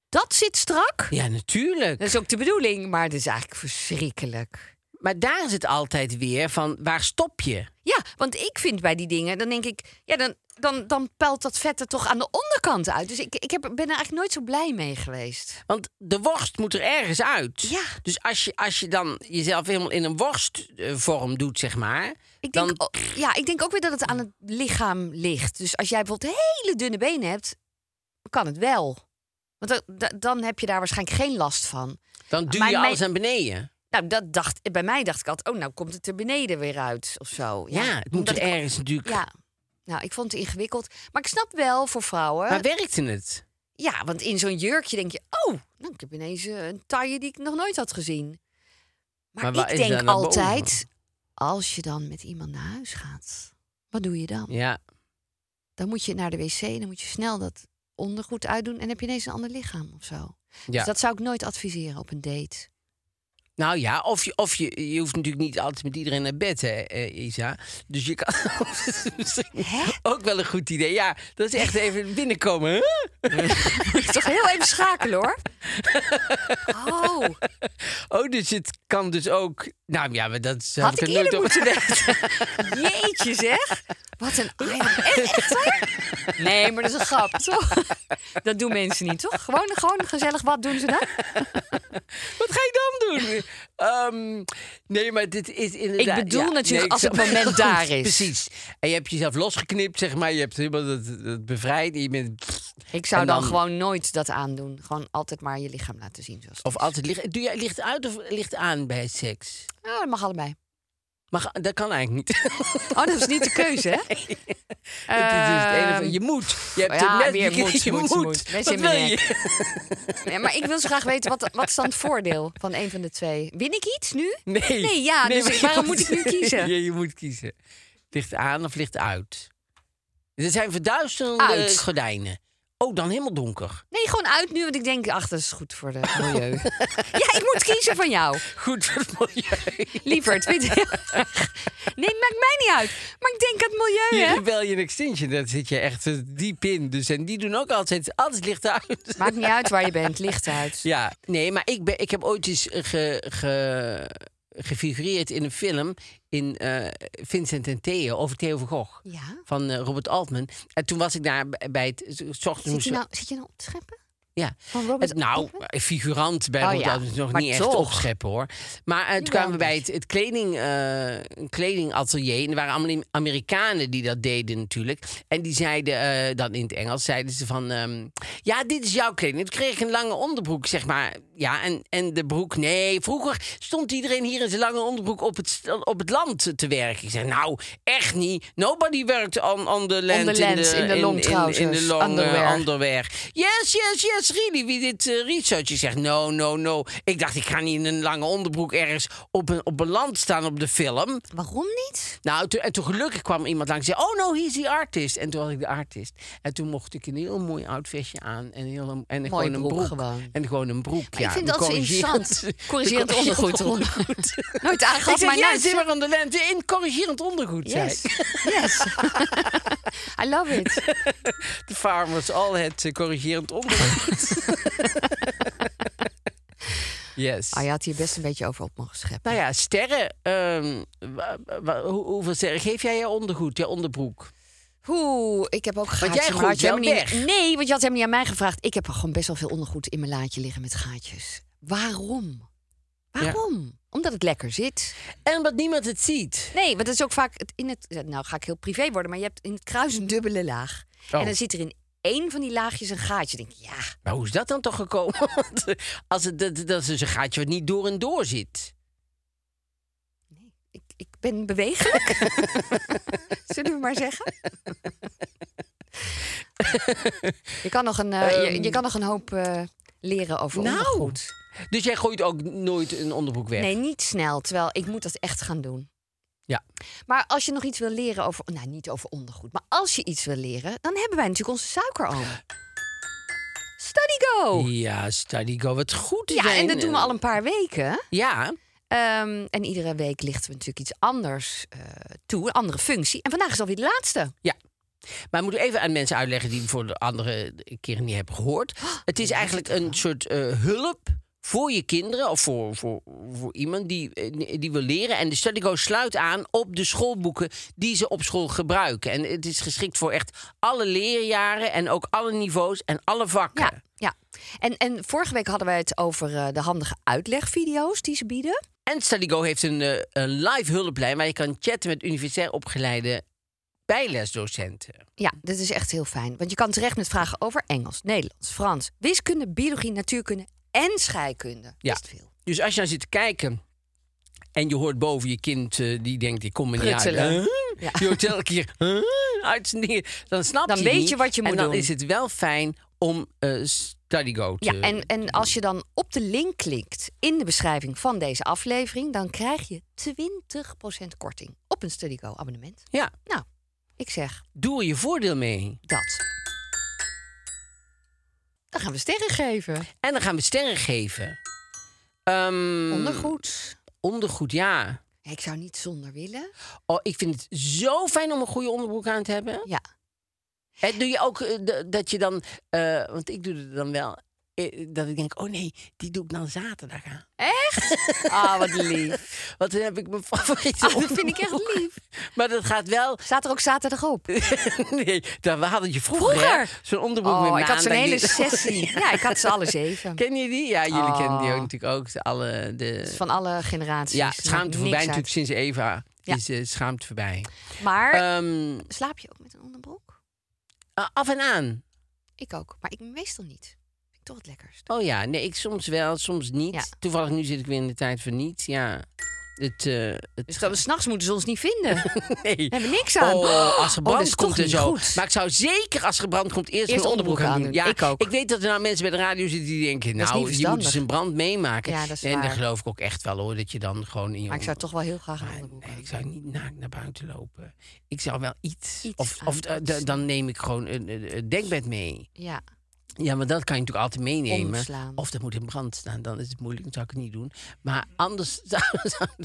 [SPEAKER 3] Dat zit strak.
[SPEAKER 2] Ja, natuurlijk.
[SPEAKER 3] Dat is ook de bedoeling, maar het is eigenlijk verschrikkelijk.
[SPEAKER 2] Maar daar is het altijd weer van, waar stop je?
[SPEAKER 3] Ja, want ik vind bij die dingen, dan denk ik, ja, dan, dan, dan pelt dat vet er toch aan de onderkant uit. Dus ik, ik heb, ben er eigenlijk nooit zo blij mee geweest.
[SPEAKER 2] Want de worst moet er ergens uit.
[SPEAKER 3] Ja.
[SPEAKER 2] Dus als je, als je dan jezelf helemaal in een worstvorm doet, zeg maar...
[SPEAKER 3] Ik
[SPEAKER 2] dan,
[SPEAKER 3] denk, o- ja, ik denk ook weer dat het aan het lichaam ligt. Dus als jij bijvoorbeeld hele dunne benen hebt, kan het wel. Want da- da- dan heb je daar waarschijnlijk geen last van.
[SPEAKER 2] dan duw
[SPEAKER 3] maar
[SPEAKER 2] je
[SPEAKER 3] mijn-
[SPEAKER 2] alles aan beneden.
[SPEAKER 3] Nou, dat dacht, bij mij dacht ik altijd, oh, nou komt het er beneden weer uit of zo.
[SPEAKER 2] Ja, het moet
[SPEAKER 3] omdat
[SPEAKER 2] er
[SPEAKER 3] ik-
[SPEAKER 2] ergens natuurlijk...
[SPEAKER 3] Ja, nou, ik vond het ingewikkeld. Maar ik snap wel voor vrouwen.
[SPEAKER 2] Maar werkte het?
[SPEAKER 3] Ja, want in zo'n jurkje denk je, oh, nou, ik heb ineens eh, een taille die ik nog nooit had gezien.
[SPEAKER 2] Maar
[SPEAKER 3] Maar,
[SPEAKER 2] waar
[SPEAKER 3] ik
[SPEAKER 2] is dat
[SPEAKER 3] denk
[SPEAKER 2] naar
[SPEAKER 3] altijd, als je dan met iemand naar huis gaat, wat doe je dan?
[SPEAKER 2] Ja.
[SPEAKER 3] Dan moet je naar de wc, dan moet je snel dat ondergoed uitdoen en heb je ineens een ander lichaam of zo.
[SPEAKER 2] ja.
[SPEAKER 3] Dus dat zou ik nooit adviseren op een date.
[SPEAKER 2] Nou ja, of, je, of je, je hoeft natuurlijk niet altijd met iedereen naar bed, hè, eh, Isa. Dus je kan misschien
[SPEAKER 3] Hè?
[SPEAKER 2] ook wel een goed idee. Ja, dat is echt even binnenkomen. hè?
[SPEAKER 3] Moet je toch heel even schakelen hoor. Oh,
[SPEAKER 2] Oh, dus het kan dus ook... Nou ja, maar dat zou
[SPEAKER 3] had ik
[SPEAKER 2] er nooit
[SPEAKER 3] eerder
[SPEAKER 2] op-
[SPEAKER 3] moeten weten. Jeetje zeg. Wat een eiland. E- Echt waar? Nee, maar dat is een grap, toch? Dat doen mensen niet, toch? Gewoon, gewoon gezellig wat doen ze dan?
[SPEAKER 2] Wat ga ik dan doen? Ehm, nee, maar dit is inderdaad...
[SPEAKER 3] Ik bedoel natuurlijk
[SPEAKER 2] ik
[SPEAKER 3] als het
[SPEAKER 2] snap-
[SPEAKER 3] moment daar is.
[SPEAKER 2] Precies. En je hebt jezelf losgeknipt, zeg maar. Je hebt helemaal dat, dat bevrijd. en Je bent,
[SPEAKER 3] Ik zou
[SPEAKER 2] En
[SPEAKER 3] dan,
[SPEAKER 2] dan-
[SPEAKER 3] gewoon nooit dat aandoen. Gewoon altijd maar je lichaam laten zien. Zoals het
[SPEAKER 2] of
[SPEAKER 3] is.
[SPEAKER 2] altijd licht, doe jij licht uit of licht aan bij seks?
[SPEAKER 3] Oh, dat mag allebei.
[SPEAKER 2] Maar ga- dat kan eigenlijk niet.
[SPEAKER 3] Oh, dat is niet de keuze, hè?
[SPEAKER 2] Het is het ene van-
[SPEAKER 3] Ehm,
[SPEAKER 2] je moet. Je hebt
[SPEAKER 3] ja,
[SPEAKER 2] het net
[SPEAKER 3] weer
[SPEAKER 2] bekeken,
[SPEAKER 3] moet,
[SPEAKER 2] je
[SPEAKER 3] moet,
[SPEAKER 2] moet.
[SPEAKER 3] moet. Mes
[SPEAKER 2] Wat
[SPEAKER 3] in mijn
[SPEAKER 2] wil je?
[SPEAKER 3] nee, maar ik wil zo graag weten, wat, wat is dan het voordeel van een van de twee? Win ik iets nu?
[SPEAKER 2] Nee.
[SPEAKER 3] Nee, ja, dus
[SPEAKER 2] maar je
[SPEAKER 3] waarom moet ik nu kiezen?
[SPEAKER 2] Ja, je moet kiezen. Ligt aan of ligt uit? Er zijn verduisterende
[SPEAKER 3] Uit.
[SPEAKER 2] gordijnen. Oh, dan helemaal donker.
[SPEAKER 3] Nee, gewoon uit nu, want ik denk, ach, dat is goed voor het milieu. ja, ik moet kiezen van jou.
[SPEAKER 2] Goed voor het milieu.
[SPEAKER 3] Lieverd, vind je heel erg. Nee, het maakt mij niet uit. Maar ik denk het milieu,
[SPEAKER 2] Je
[SPEAKER 3] hè?
[SPEAKER 2] Rebellion Extinction, daar zit je echt eh, diep in. Dus, en die doen ook altijd, alles ligt uit.
[SPEAKER 3] Maakt niet uit waar je bent, licht uit.
[SPEAKER 2] Ja, nee, maar ik, ben, ik heb ooit eens ge, ge, gefigureerd in een film in eh, Vincent en Theo over Theo van Gogh.
[SPEAKER 3] Ja?
[SPEAKER 2] Van eh, Robert Altman. En toen was ik daar b- bij het... s- s ochtends
[SPEAKER 3] Zit
[SPEAKER 2] moest-
[SPEAKER 3] je nou, zit je nou op te scheppen?
[SPEAKER 2] ja.
[SPEAKER 3] Van Robert
[SPEAKER 2] Het- nou,
[SPEAKER 3] Altman?
[SPEAKER 2] figurant bij
[SPEAKER 3] Oh
[SPEAKER 2] Robert
[SPEAKER 3] ja,
[SPEAKER 2] Altman is nog
[SPEAKER 3] maar
[SPEAKER 2] niet echt
[SPEAKER 3] toch.
[SPEAKER 2] opscheppen hoor. Maar eh, toen
[SPEAKER 3] Jawel,
[SPEAKER 2] kwamen we bij
[SPEAKER 3] dus.
[SPEAKER 2] het, het kleding, eh, een kledingatelier. En er waren allemaal Amerikanen die dat deden natuurlijk. En die zeiden eh, dan in het Engels, zeiden ze van... ehm, ja, dit is jouw kleding. Toen kreeg ik een lange onderbroek, zeg maar. Ja, en, en de broek... Nee, vroeger stond iedereen hier in zijn lange onderbroek op het, st- op het land te werken. Ik zei, nou, echt niet. Nobody worked on, on the land.
[SPEAKER 3] lands, in the long
[SPEAKER 2] In, de
[SPEAKER 3] trousers,
[SPEAKER 2] long eh,
[SPEAKER 3] underwear.
[SPEAKER 2] onderweg. Yes, yes, yes, really. Wie dit eh, research je zegt, no, no, no. Ik dacht, ik ga niet in een lange onderbroek ergens op een, op een land staan op de film.
[SPEAKER 3] Waarom niet?
[SPEAKER 2] Nou, toen- en toen gelukkig kwam iemand langs en zei, oh no, he's the artist. En toen was ik de artist. En toen mocht ik een heel mooi oud vestje aan en, heel, en gewoon een
[SPEAKER 3] broek
[SPEAKER 2] broek.
[SPEAKER 3] gewoon.
[SPEAKER 2] En gewoon een broek,
[SPEAKER 3] Maar
[SPEAKER 2] ja.
[SPEAKER 3] ik vind
[SPEAKER 2] Een
[SPEAKER 3] dat zo
[SPEAKER 2] corrigerend-
[SPEAKER 3] interessant.
[SPEAKER 2] een
[SPEAKER 3] Corrigerend ondergoed. Ron. Nooit
[SPEAKER 2] Ik
[SPEAKER 3] aangehad,
[SPEAKER 2] zeg,
[SPEAKER 3] maar nou
[SPEAKER 2] ja,
[SPEAKER 3] nooit.
[SPEAKER 2] zit maar aan de lente in corrigerend ondergoed, zei
[SPEAKER 3] Yes.
[SPEAKER 2] ik.
[SPEAKER 3] yes. I love it.
[SPEAKER 2] De farmers, al het eh, corrigerend ondergoed. yes.
[SPEAKER 3] Ah, je had hier best een beetje over op mogen scheppen.
[SPEAKER 2] Nou ja, sterren. ehm, wa- wa- hoe- hoeveel sterren geef jij je ondergoed, je onderbroek?
[SPEAKER 3] Oeh, ik heb ook gaatjes.
[SPEAKER 2] jij
[SPEAKER 3] maar
[SPEAKER 2] gooit
[SPEAKER 3] had je
[SPEAKER 2] wel
[SPEAKER 3] helemaal niet-
[SPEAKER 2] weg.
[SPEAKER 3] Nee, want je had helemaal niet aan mij gevraagd. Ik heb er gewoon best wel veel ondergoed in mijn laadje liggen met gaatjes. Waarom? Waarom? Omdat het lekker zit.
[SPEAKER 2] En wat niemand het ziet.
[SPEAKER 3] Nee, want dat is ook vaak het- in het. Nou, ga ik heel privé worden, maar je hebt in het kruis een dubbele laag.
[SPEAKER 2] Oh.
[SPEAKER 3] En dan zit er in één van die laagjes een gaatje. Dan Denk ik, ja,
[SPEAKER 2] Maar hoe is dat dan toch gekomen? Want eh, als het, dat, dat is dus een gaatje wat niet door en door zit.
[SPEAKER 3] ik, ik ben bewegelijk. Zullen we maar zeggen? je, kan nog een, eh, je, je kan nog een hoop eh, leren over
[SPEAKER 2] Ehm. Nou.
[SPEAKER 3] ondergoed.
[SPEAKER 2] Dus jij gooit ook nooit een onderbroek weg?
[SPEAKER 3] Nee, niet snel. Terwijl ik moet dat echt gaan doen.
[SPEAKER 2] Ja.
[SPEAKER 3] Maar als je nog iets wil leren over... Nou, niet over ondergoed. Maar als je iets wil leren, dan hebben wij natuurlijk onze suikeroom. Study Go!
[SPEAKER 2] Ja, study go. Wat goed te
[SPEAKER 3] Ja,
[SPEAKER 2] zijn. eh,
[SPEAKER 3] en dat doen we al een paar weken.
[SPEAKER 2] Ja,
[SPEAKER 3] Ehm, en iedere week lichten we natuurlijk iets anders eh, toe. Een andere functie. En vandaag is alweer de laatste.
[SPEAKER 2] ja. Maar moet ik even aan mensen uitleggen die het voor de andere keren niet hebben gehoord. Het is eigenlijk een soort eh, hulp voor je kinderen of voor, voor, voor iemand die, eh, die wil leren. En de Studigo sluit aan op de schoolboeken die ze op school gebruiken. En het is geschikt voor echt alle leerjaren en ook alle niveaus en alle vakken.
[SPEAKER 3] Ja, ja. En, en vorige week hadden wij het over eh, de handige uitlegvideo's die ze bieden.
[SPEAKER 2] En Studigo heeft een, eh, een live hulplijn waar je kan chatten met universitair opgeleide bijlesdocenten.
[SPEAKER 3] Ja, dat is echt heel fijn. Want je kan terecht met vragen over Engels, Nederlands, Frans, wiskunde, biologie, natuurkunde en scheikunde.
[SPEAKER 2] Ja.
[SPEAKER 3] Best veel.
[SPEAKER 2] Dus als je nou zit te kijken en je hoort boven je kind eh, die denkt ik kom er niet
[SPEAKER 3] Prutselen.
[SPEAKER 2] uit. Huh?
[SPEAKER 3] Ja.
[SPEAKER 2] Je hoort elke keer huh? uit zijn dingen. Dan snapt
[SPEAKER 3] Dan
[SPEAKER 2] hij
[SPEAKER 3] weet
[SPEAKER 2] niet.
[SPEAKER 3] je wat je moet
[SPEAKER 2] En dan
[SPEAKER 3] doen.
[SPEAKER 2] is het wel fijn om eh StudyGo te...
[SPEAKER 3] Ja, en, en als je dan op de link klikt in de beschrijving van deze aflevering, dan krijg je 20% korting op een StudyGo abonnement.
[SPEAKER 2] Ja,
[SPEAKER 3] Nou, ik zeg
[SPEAKER 2] doe er je voordeel mee.
[SPEAKER 3] dat. Dan gaan we sterren geven.
[SPEAKER 2] En dan gaan we sterren geven. Ehm,
[SPEAKER 3] Ondergoed.
[SPEAKER 2] Ondergoed, ja.
[SPEAKER 3] Ja, ik zou niet zonder willen.
[SPEAKER 2] Oh, ik vind het zo fijn om een goede onderbroek aan te hebben.
[SPEAKER 3] Ja.
[SPEAKER 2] En doe je ook eh, d- dat je dan... eh, want ik doe het dan wel. eh, dat ik denk, oh nee, die doe ik dan zaterdag aan.
[SPEAKER 3] Ah, wat lief.
[SPEAKER 2] Want dan heb ik mijn favoriete
[SPEAKER 3] Ah, dat vind ik echt
[SPEAKER 2] onderbroek.
[SPEAKER 3] lief.
[SPEAKER 2] Maar dat gaat wel...
[SPEAKER 3] Staat er ook zaterdag op?
[SPEAKER 2] nee, dan, we hadden je vroeger, hè,
[SPEAKER 3] Vroeger?
[SPEAKER 2] zo'n onderbroek met
[SPEAKER 3] Oh, ik had
[SPEAKER 2] maandag
[SPEAKER 3] zo'n hele
[SPEAKER 2] niet-
[SPEAKER 3] sessie. Ja, ik had ze alle zeven.
[SPEAKER 2] Ken je die? Ja, jullie
[SPEAKER 3] Oh.
[SPEAKER 2] kennen die ook natuurlijk ook. de- Alle, de...
[SPEAKER 3] Van alle generaties.
[SPEAKER 2] Eh, Ja,
[SPEAKER 3] Maakt
[SPEAKER 2] schaamte
[SPEAKER 3] niks
[SPEAKER 2] voorbij
[SPEAKER 3] uit.
[SPEAKER 2] natuurlijk sinds Eva.
[SPEAKER 3] Ja.
[SPEAKER 2] Is eh, schaamte voorbij.
[SPEAKER 3] Maar
[SPEAKER 2] Ehm,
[SPEAKER 3] slaap je ook met een onderbroek?
[SPEAKER 2] eh, af en aan.
[SPEAKER 3] Ik ook, maar ik meestal niet. Vind ik toch het lekkerst.
[SPEAKER 2] Oh ja, nee, ik soms wel, soms niet.
[SPEAKER 3] Ja.
[SPEAKER 2] Toevallig nu zit ik weer in de tijd van niet. Ja. Het, eh, het
[SPEAKER 3] Dus dan, s'nachts moeten ze ons niet vinden.
[SPEAKER 2] Nee.
[SPEAKER 3] We hebben niks aan.
[SPEAKER 2] Oh, als er
[SPEAKER 3] Oh, dat
[SPEAKER 2] brand
[SPEAKER 3] is toch
[SPEAKER 2] komt en
[SPEAKER 3] niet
[SPEAKER 2] zo.
[SPEAKER 3] goed.
[SPEAKER 2] Maar ik zou zeker als er brand komt eerst,
[SPEAKER 3] Eerst
[SPEAKER 2] mijn onderbroek
[SPEAKER 3] onderbroek
[SPEAKER 2] aan doen.
[SPEAKER 3] aandoen. Ik ook.
[SPEAKER 2] Ik weet dat er nou mensen bij de radio zitten die denken...
[SPEAKER 3] niet
[SPEAKER 2] nou, die moeten
[SPEAKER 3] verstandig.
[SPEAKER 2] zijn brand meemaken.
[SPEAKER 3] Ja, dat is
[SPEAKER 2] en
[SPEAKER 3] waar.
[SPEAKER 2] daar geloof ik ook echt wel hoor. Dat je dan gewoon in je
[SPEAKER 3] Maar ik zou
[SPEAKER 2] onderbroek-
[SPEAKER 3] toch wel heel graag een
[SPEAKER 2] Maar
[SPEAKER 3] onderbroek
[SPEAKER 2] Ah, nee,
[SPEAKER 3] aan
[SPEAKER 2] ik zou niet naakt naar buiten lopen. Ik zou wel iets.
[SPEAKER 3] Iets
[SPEAKER 2] of of
[SPEAKER 3] aan.
[SPEAKER 2] eh, d- dan neem ik gewoon een, een- een dekbed mee.
[SPEAKER 3] Ja,
[SPEAKER 2] Ja, maar dat kan je natuurlijk altijd meenemen.
[SPEAKER 3] Omslaan.
[SPEAKER 2] Of dat moet in brand staan. Dan is het moeilijk. Dan zou ik het niet doen. Maar anders.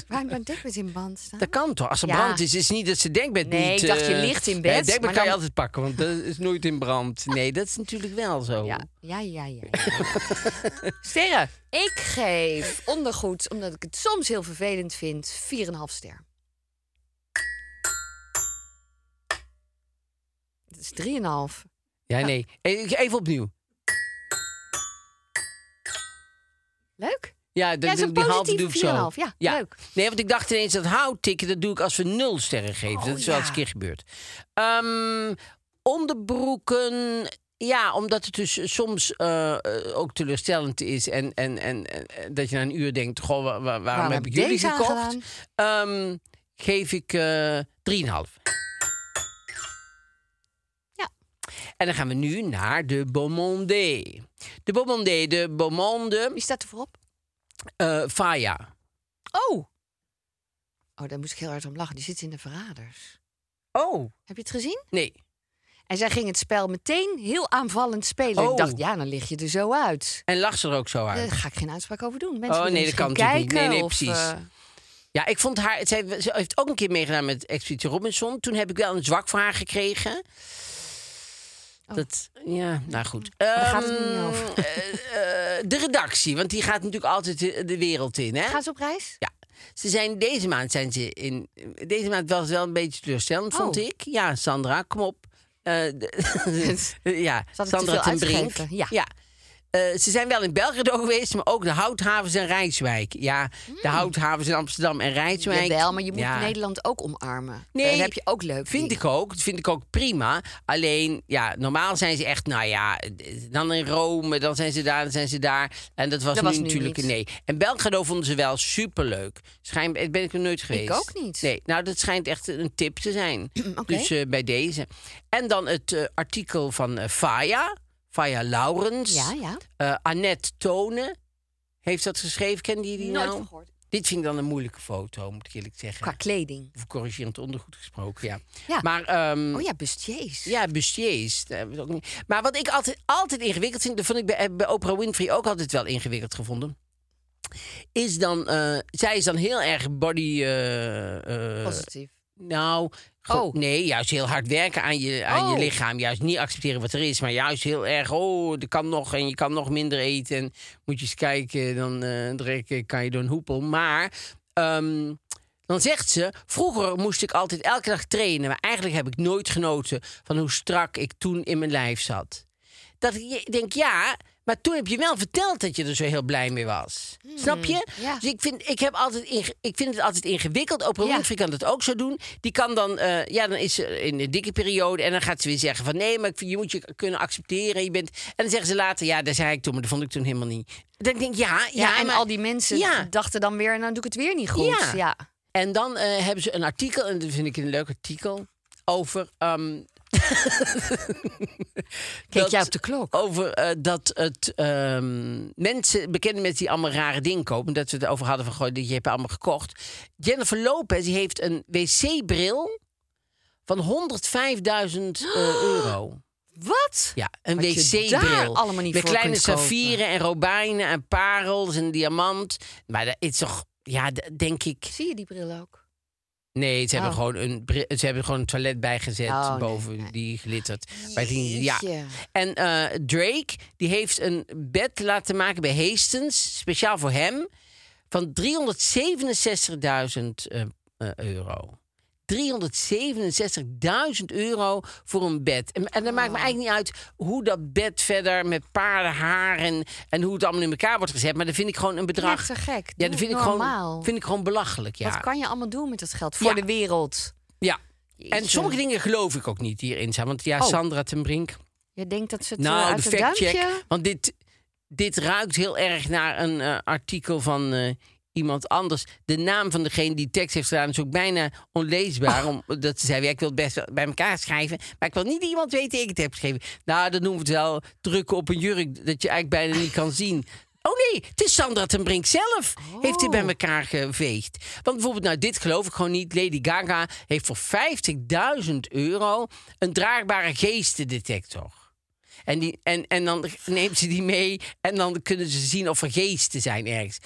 [SPEAKER 3] waarom mijn dekbed in band staan?
[SPEAKER 2] Dat kan toch? Als er
[SPEAKER 3] Ja.
[SPEAKER 2] brand is, is niet dat ze dekbed
[SPEAKER 3] Nee,
[SPEAKER 2] niet...
[SPEAKER 3] ik dacht, je
[SPEAKER 2] eh,
[SPEAKER 3] ligt in
[SPEAKER 2] nee,
[SPEAKER 3] bed,
[SPEAKER 2] Het dekbed
[SPEAKER 3] maar
[SPEAKER 2] kan je
[SPEAKER 3] dan-
[SPEAKER 2] altijd pakken, want dat is nooit in brand. Nee, dat is natuurlijk wel zo.
[SPEAKER 3] Ja, ja, ja, ja. ja. Sterren. Ik geef ondergoed, omdat ik het soms heel vervelend vind, 4,5 ster. Dat is 3,5.
[SPEAKER 2] Ja, nee. E- Even opnieuw.
[SPEAKER 3] Leuk?
[SPEAKER 2] Ja, dat
[SPEAKER 3] Ja, het is een
[SPEAKER 2] die halve doe ik
[SPEAKER 3] positieve
[SPEAKER 2] zo.
[SPEAKER 3] 4,5. Ja, leuk.
[SPEAKER 2] Nee, want ik dacht ineens dat houttikken, dat doe ik als we nul sterren geven. dat is wel
[SPEAKER 3] Oh, ja.
[SPEAKER 2] eens een keer gebeurd. Ehm, onderbroeken... Ja, omdat het dus soms eh, eh, ook teleurstellend is. En, en, en, en- en dat je na een uur denkt, goh, wa- wa- waarom,
[SPEAKER 3] Waarom
[SPEAKER 2] heb ik
[SPEAKER 3] heb ik
[SPEAKER 2] jullie
[SPEAKER 3] deze
[SPEAKER 2] gekocht?
[SPEAKER 3] aangedaan?
[SPEAKER 2] Ehm, geef ik eh 3,5.
[SPEAKER 3] Ja.
[SPEAKER 2] En dan gaan we nu naar de Beaumonde. De Beaumonde, de Beaumonde
[SPEAKER 3] Wie staat er voorop?
[SPEAKER 2] eh Faya.
[SPEAKER 3] Oh! Oh, daar moest ik heel hard om lachen. Die zit in de verraders.
[SPEAKER 2] Oh.
[SPEAKER 3] Heb je het gezien?
[SPEAKER 2] Nee.
[SPEAKER 3] En zij ging het spel meteen heel aanvallend spelen.
[SPEAKER 2] Oh.
[SPEAKER 3] Ik dacht, ja, dan lig je er zo uit.
[SPEAKER 2] En lag ze er ook zo
[SPEAKER 3] Ja,
[SPEAKER 2] uit?
[SPEAKER 3] Daar ga ik geen uitspraak over doen. Mensen
[SPEAKER 2] Oh,
[SPEAKER 3] moeten
[SPEAKER 2] nee, dat
[SPEAKER 3] misschien
[SPEAKER 2] kan natuurlijk niet.
[SPEAKER 3] kijken
[SPEAKER 2] Nee, nee,
[SPEAKER 3] of,
[SPEAKER 2] precies.
[SPEAKER 3] eh,
[SPEAKER 2] Ja, ik vond haar. Zij, ze heeft ook een keer meegedaan met Expeditie Robinson. Toen heb ik wel een zwak voor haar gekregen.
[SPEAKER 3] Oh.
[SPEAKER 2] Dat, ja, nou goed.
[SPEAKER 3] Daar gaat het
[SPEAKER 2] Ehm,
[SPEAKER 3] niet over.
[SPEAKER 2] eh, eh, de redactie, want die gaat natuurlijk altijd de, de wereld in. Hè?
[SPEAKER 3] Gaan ze op reis?
[SPEAKER 2] Ja. Ze zijn, deze maand zijn ze in. Deze maand was het wel een beetje teleurstellend, vond
[SPEAKER 3] Oh.
[SPEAKER 2] ik. Ja, Sandra, kom op. Eh, de- Eh, ja,
[SPEAKER 3] te
[SPEAKER 2] Sandra
[SPEAKER 3] veel
[SPEAKER 2] ten Brink.
[SPEAKER 3] uitgegeven, ja.
[SPEAKER 2] Eh, ze zijn wel in Belgrado geweest, maar ook de houthavens en Rijswijk. Ja, de houthavens in Amsterdam en Rijswijk.
[SPEAKER 3] Hmm. Jawel, maar je moet
[SPEAKER 2] Ja.
[SPEAKER 3] Nederland ook omarmen.
[SPEAKER 2] Nee,
[SPEAKER 3] Daar heb je ook leuk.
[SPEAKER 2] Vind ik ook. Dat vind ik ook prima. Alleen, ja, normaal zijn ze echt, nou ja, dan in Rome, dan zijn ze daar, dan zijn ze daar. En dat was,
[SPEAKER 3] Dat
[SPEAKER 2] nu
[SPEAKER 3] was nu
[SPEAKER 2] natuurlijk
[SPEAKER 3] niet.
[SPEAKER 2] nee. En Belgrado vonden ze wel superleuk. Schijn, eh, ben ik er nooit geweest.
[SPEAKER 3] ook niet.
[SPEAKER 2] Nee, nou, dat schijnt echt een tip te zijn.
[SPEAKER 3] Oké.
[SPEAKER 2] Dus eh, bij deze. En dan het eh, artikel van eh, Faya. Faya Laurens.
[SPEAKER 3] Ja, ja.
[SPEAKER 2] Eh, Annette Tone heeft dat geschreven. Ken je die
[SPEAKER 3] Nooit
[SPEAKER 2] nou?
[SPEAKER 3] van gehoord.
[SPEAKER 2] Dit vind ik dan een moeilijke foto, moet ik eerlijk zeggen
[SPEAKER 3] Qua kleding.
[SPEAKER 2] of corrigerend ondergoed gesproken, ja.
[SPEAKER 3] Ja.
[SPEAKER 2] Maar, ehm,
[SPEAKER 3] Oh ja, bustiers.
[SPEAKER 2] ja, bustiers. daar hebben we het ook niet. Maar wat ik altijd, altijd ingewikkeld vind, dat vond ik bij, bij Oprah Winfrey ook altijd wel ingewikkeld gevonden. Is dan, eh, zij is dan heel erg body. eh, eh,
[SPEAKER 3] Positief.
[SPEAKER 2] nou, gewoon-
[SPEAKER 3] Oh.
[SPEAKER 2] nee, juist heel hard werken aan je, aan je
[SPEAKER 3] Oh.
[SPEAKER 2] lichaam. Juist niet accepteren wat er is, maar juist heel erg, oh, er kan nog en je kan nog minder eten. En moet je eens kijken, dan eh, drink ik- kan je door een hoepel. Maar ehm, dan zegt ze, vroeger moest ik altijd elke dag trainen, maar eigenlijk heb ik nooit genoten van hoe strak ik toen in mijn lijf zat. Dat ik je- denk, ja, maar toen heb je wel verteld dat je er zo heel blij mee was. Snap je?
[SPEAKER 3] Hmm, ja.
[SPEAKER 2] Dus ik vind, ik, heb altijd inge- ik vind het altijd ingewikkeld. Oprah
[SPEAKER 3] Ja.
[SPEAKER 2] Winfrey kan dat ook zo doen. Die kan dan, eh, ja, dan is ze in een dikke periode en dan gaat ze weer zeggen van nee, maar ik vind- je moet je kunnen accepteren. Je bent... En dan zeggen ze later, ja, daar zei ik toen, maar dat vond ik toen helemaal niet. Dan denk ik, ja, ja,
[SPEAKER 3] Ja, en
[SPEAKER 2] maar-
[SPEAKER 3] al die mensen
[SPEAKER 2] Ja.
[SPEAKER 3] dachten dan weer, nou doe ik het weer niet goed.
[SPEAKER 2] Ja.
[SPEAKER 3] Ja.
[SPEAKER 2] En dan eh, hebben ze een artikel, en dat vind ik een leuk artikel, over. ehm,
[SPEAKER 3] Keek
[SPEAKER 2] dat-
[SPEAKER 3] jij op de klok?
[SPEAKER 2] Over eh, dat het ehm, mensen, bekende mensen die allemaal rare dingen kopen, dat we het over hadden van goh, die heb je allemaal gekocht. Jennifer Lopez die heeft een wc-bril van 105.000 eh, euro.
[SPEAKER 3] Wat?
[SPEAKER 2] Ja, een
[SPEAKER 3] Wat je daar
[SPEAKER 2] wc-bril.
[SPEAKER 3] allemaal niet
[SPEAKER 2] Met
[SPEAKER 3] voor
[SPEAKER 2] kleine
[SPEAKER 3] kunt kopen.
[SPEAKER 2] saffieren en robijnen en parels en diamant. Maar dat is toch, ja, dat denk ik.
[SPEAKER 3] Zie je die bril ook?
[SPEAKER 2] Nee, ze hebben,
[SPEAKER 3] Oh.
[SPEAKER 2] gewoon een, bri- ze hebben gewoon een toilet bijgezet
[SPEAKER 3] Oh, nee,
[SPEAKER 2] boven
[SPEAKER 3] nee.
[SPEAKER 2] die glittert. Maar het ging- ja.
[SPEAKER 3] Jeetje.
[SPEAKER 2] En eh, Drake die heeft een bed laten maken bij Hastings, speciaal voor hem, van 367.000 eh, eh, euro. 367.000 euro voor een bed. En, en dan maakt
[SPEAKER 3] Oh.
[SPEAKER 2] me eigenlijk niet uit hoe dat bed verder met paardenhaar en, en hoe het allemaal in elkaar wordt gezet. Maar dat vind ik gewoon een bedrag.
[SPEAKER 3] Knettergek. Doe
[SPEAKER 2] Ja, dat
[SPEAKER 3] het
[SPEAKER 2] vind ik,
[SPEAKER 3] normaal.
[SPEAKER 2] gewoon, vind ik gewoon belachelijk. Ja.
[SPEAKER 3] Wat kan je allemaal doen met dat geld? Voor
[SPEAKER 2] Ja.
[SPEAKER 3] de wereld.
[SPEAKER 2] Ja. En
[SPEAKER 3] Jeetje.
[SPEAKER 2] sommige dingen geloof ik ook niet die hierin zijn. Want ja,
[SPEAKER 3] Oh.
[SPEAKER 2] Sandra ten Brink.
[SPEAKER 3] Je denkt dat ze het eh,
[SPEAKER 2] Nou, de
[SPEAKER 3] uit het
[SPEAKER 2] factcheck.
[SPEAKER 3] duimpje...
[SPEAKER 2] Want dit, dit ruikt heel erg naar een eh, artikel van eh, iemand anders. De naam van degene die tekst heeft gedaan is ook bijna onleesbaar.
[SPEAKER 3] Oh.
[SPEAKER 2] Omdat ze zei, ja, ik wil het best wel bij elkaar schrijven. Maar ik wil niet dat iemand weet dat ik het heb geschreven. Nou, dat noemen we het wel drukken op een jurk. Dat je eigenlijk bijna niet kan zien. Oh nee, het is Sandra ten Brink zelf. Heeft hij bij
[SPEAKER 3] Oh.
[SPEAKER 2] elkaar geveegd. Want bijvoorbeeld, nou dit geloof ik gewoon niet. Lady Gaga heeft voor 50.000 euro een draagbare geestendetector. En, die, en, en dan neemt ze die mee en dan kunnen ze zien of er geesten zijn ergens.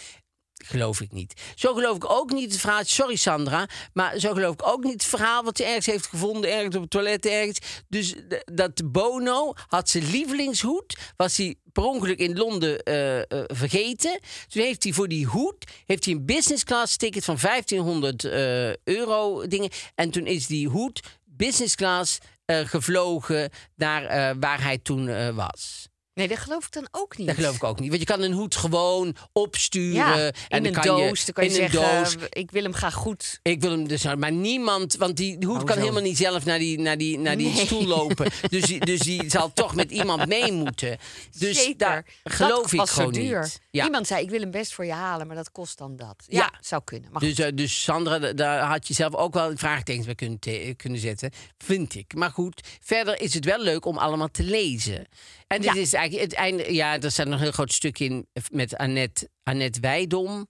[SPEAKER 2] Geloof ik niet. Zo geloof ik ook niet het verhaal. Sorry Sandra, maar zo geloof ik ook niet het verhaal wat ze ergens heeft gevonden, ergens op het toilet, ergens. Dus d- dat Bono had zijn lievelingshoed, was hij per ongeluk in Londen eh, eh, vergeten. Toen heeft hij voor die hoed heeft hij een business class ticket van 1500 eh, euro dingen. En toen is die hoed business class eh, gevlogen naar eh, waar hij toen eh, was.
[SPEAKER 3] Nee, dat geloof ik dan ook niet.
[SPEAKER 2] Dat geloof ik ook niet. Want je kan een hoed gewoon opsturen.
[SPEAKER 3] Ja, in
[SPEAKER 2] en dan
[SPEAKER 3] een
[SPEAKER 2] kan
[SPEAKER 3] doos. dan kan je
[SPEAKER 2] in een
[SPEAKER 3] zeggen, um,
[SPEAKER 2] doos.
[SPEAKER 3] ik wil hem graag goed.
[SPEAKER 2] Ik wil hem dus houden. Maar niemand, want die hoed
[SPEAKER 3] Oh,
[SPEAKER 2] kan
[SPEAKER 3] zo.
[SPEAKER 2] helemaal niet zelf naar die, naar die, naar die
[SPEAKER 3] Nee.
[SPEAKER 2] stoel lopen. Dus, die- dus die zal toch met iemand mee moeten. Dus
[SPEAKER 3] Zeker.
[SPEAKER 2] daar
[SPEAKER 3] Dat
[SPEAKER 2] geloof ik
[SPEAKER 3] was zo
[SPEAKER 2] gewoon
[SPEAKER 3] duur.
[SPEAKER 2] niet. Ja.
[SPEAKER 3] Iemand zei, ik wil hem best voor je halen, maar dat kost dan dat. Ja,
[SPEAKER 2] Ja.
[SPEAKER 3] zou kunnen. Maar
[SPEAKER 2] Dus, eh, dus Sandra, da- daar had je zelf ook wel een vraagtekens bij kunnen, te- eh, kunnen zetten. Vind ik. Maar goed, verder is het wel leuk om allemaal te lezen. En dit
[SPEAKER 3] Ja.
[SPEAKER 2] is eigenlijk het einde. Ja, er staat nog een heel groot stuk in eh, met Annette, Annette Wijdom.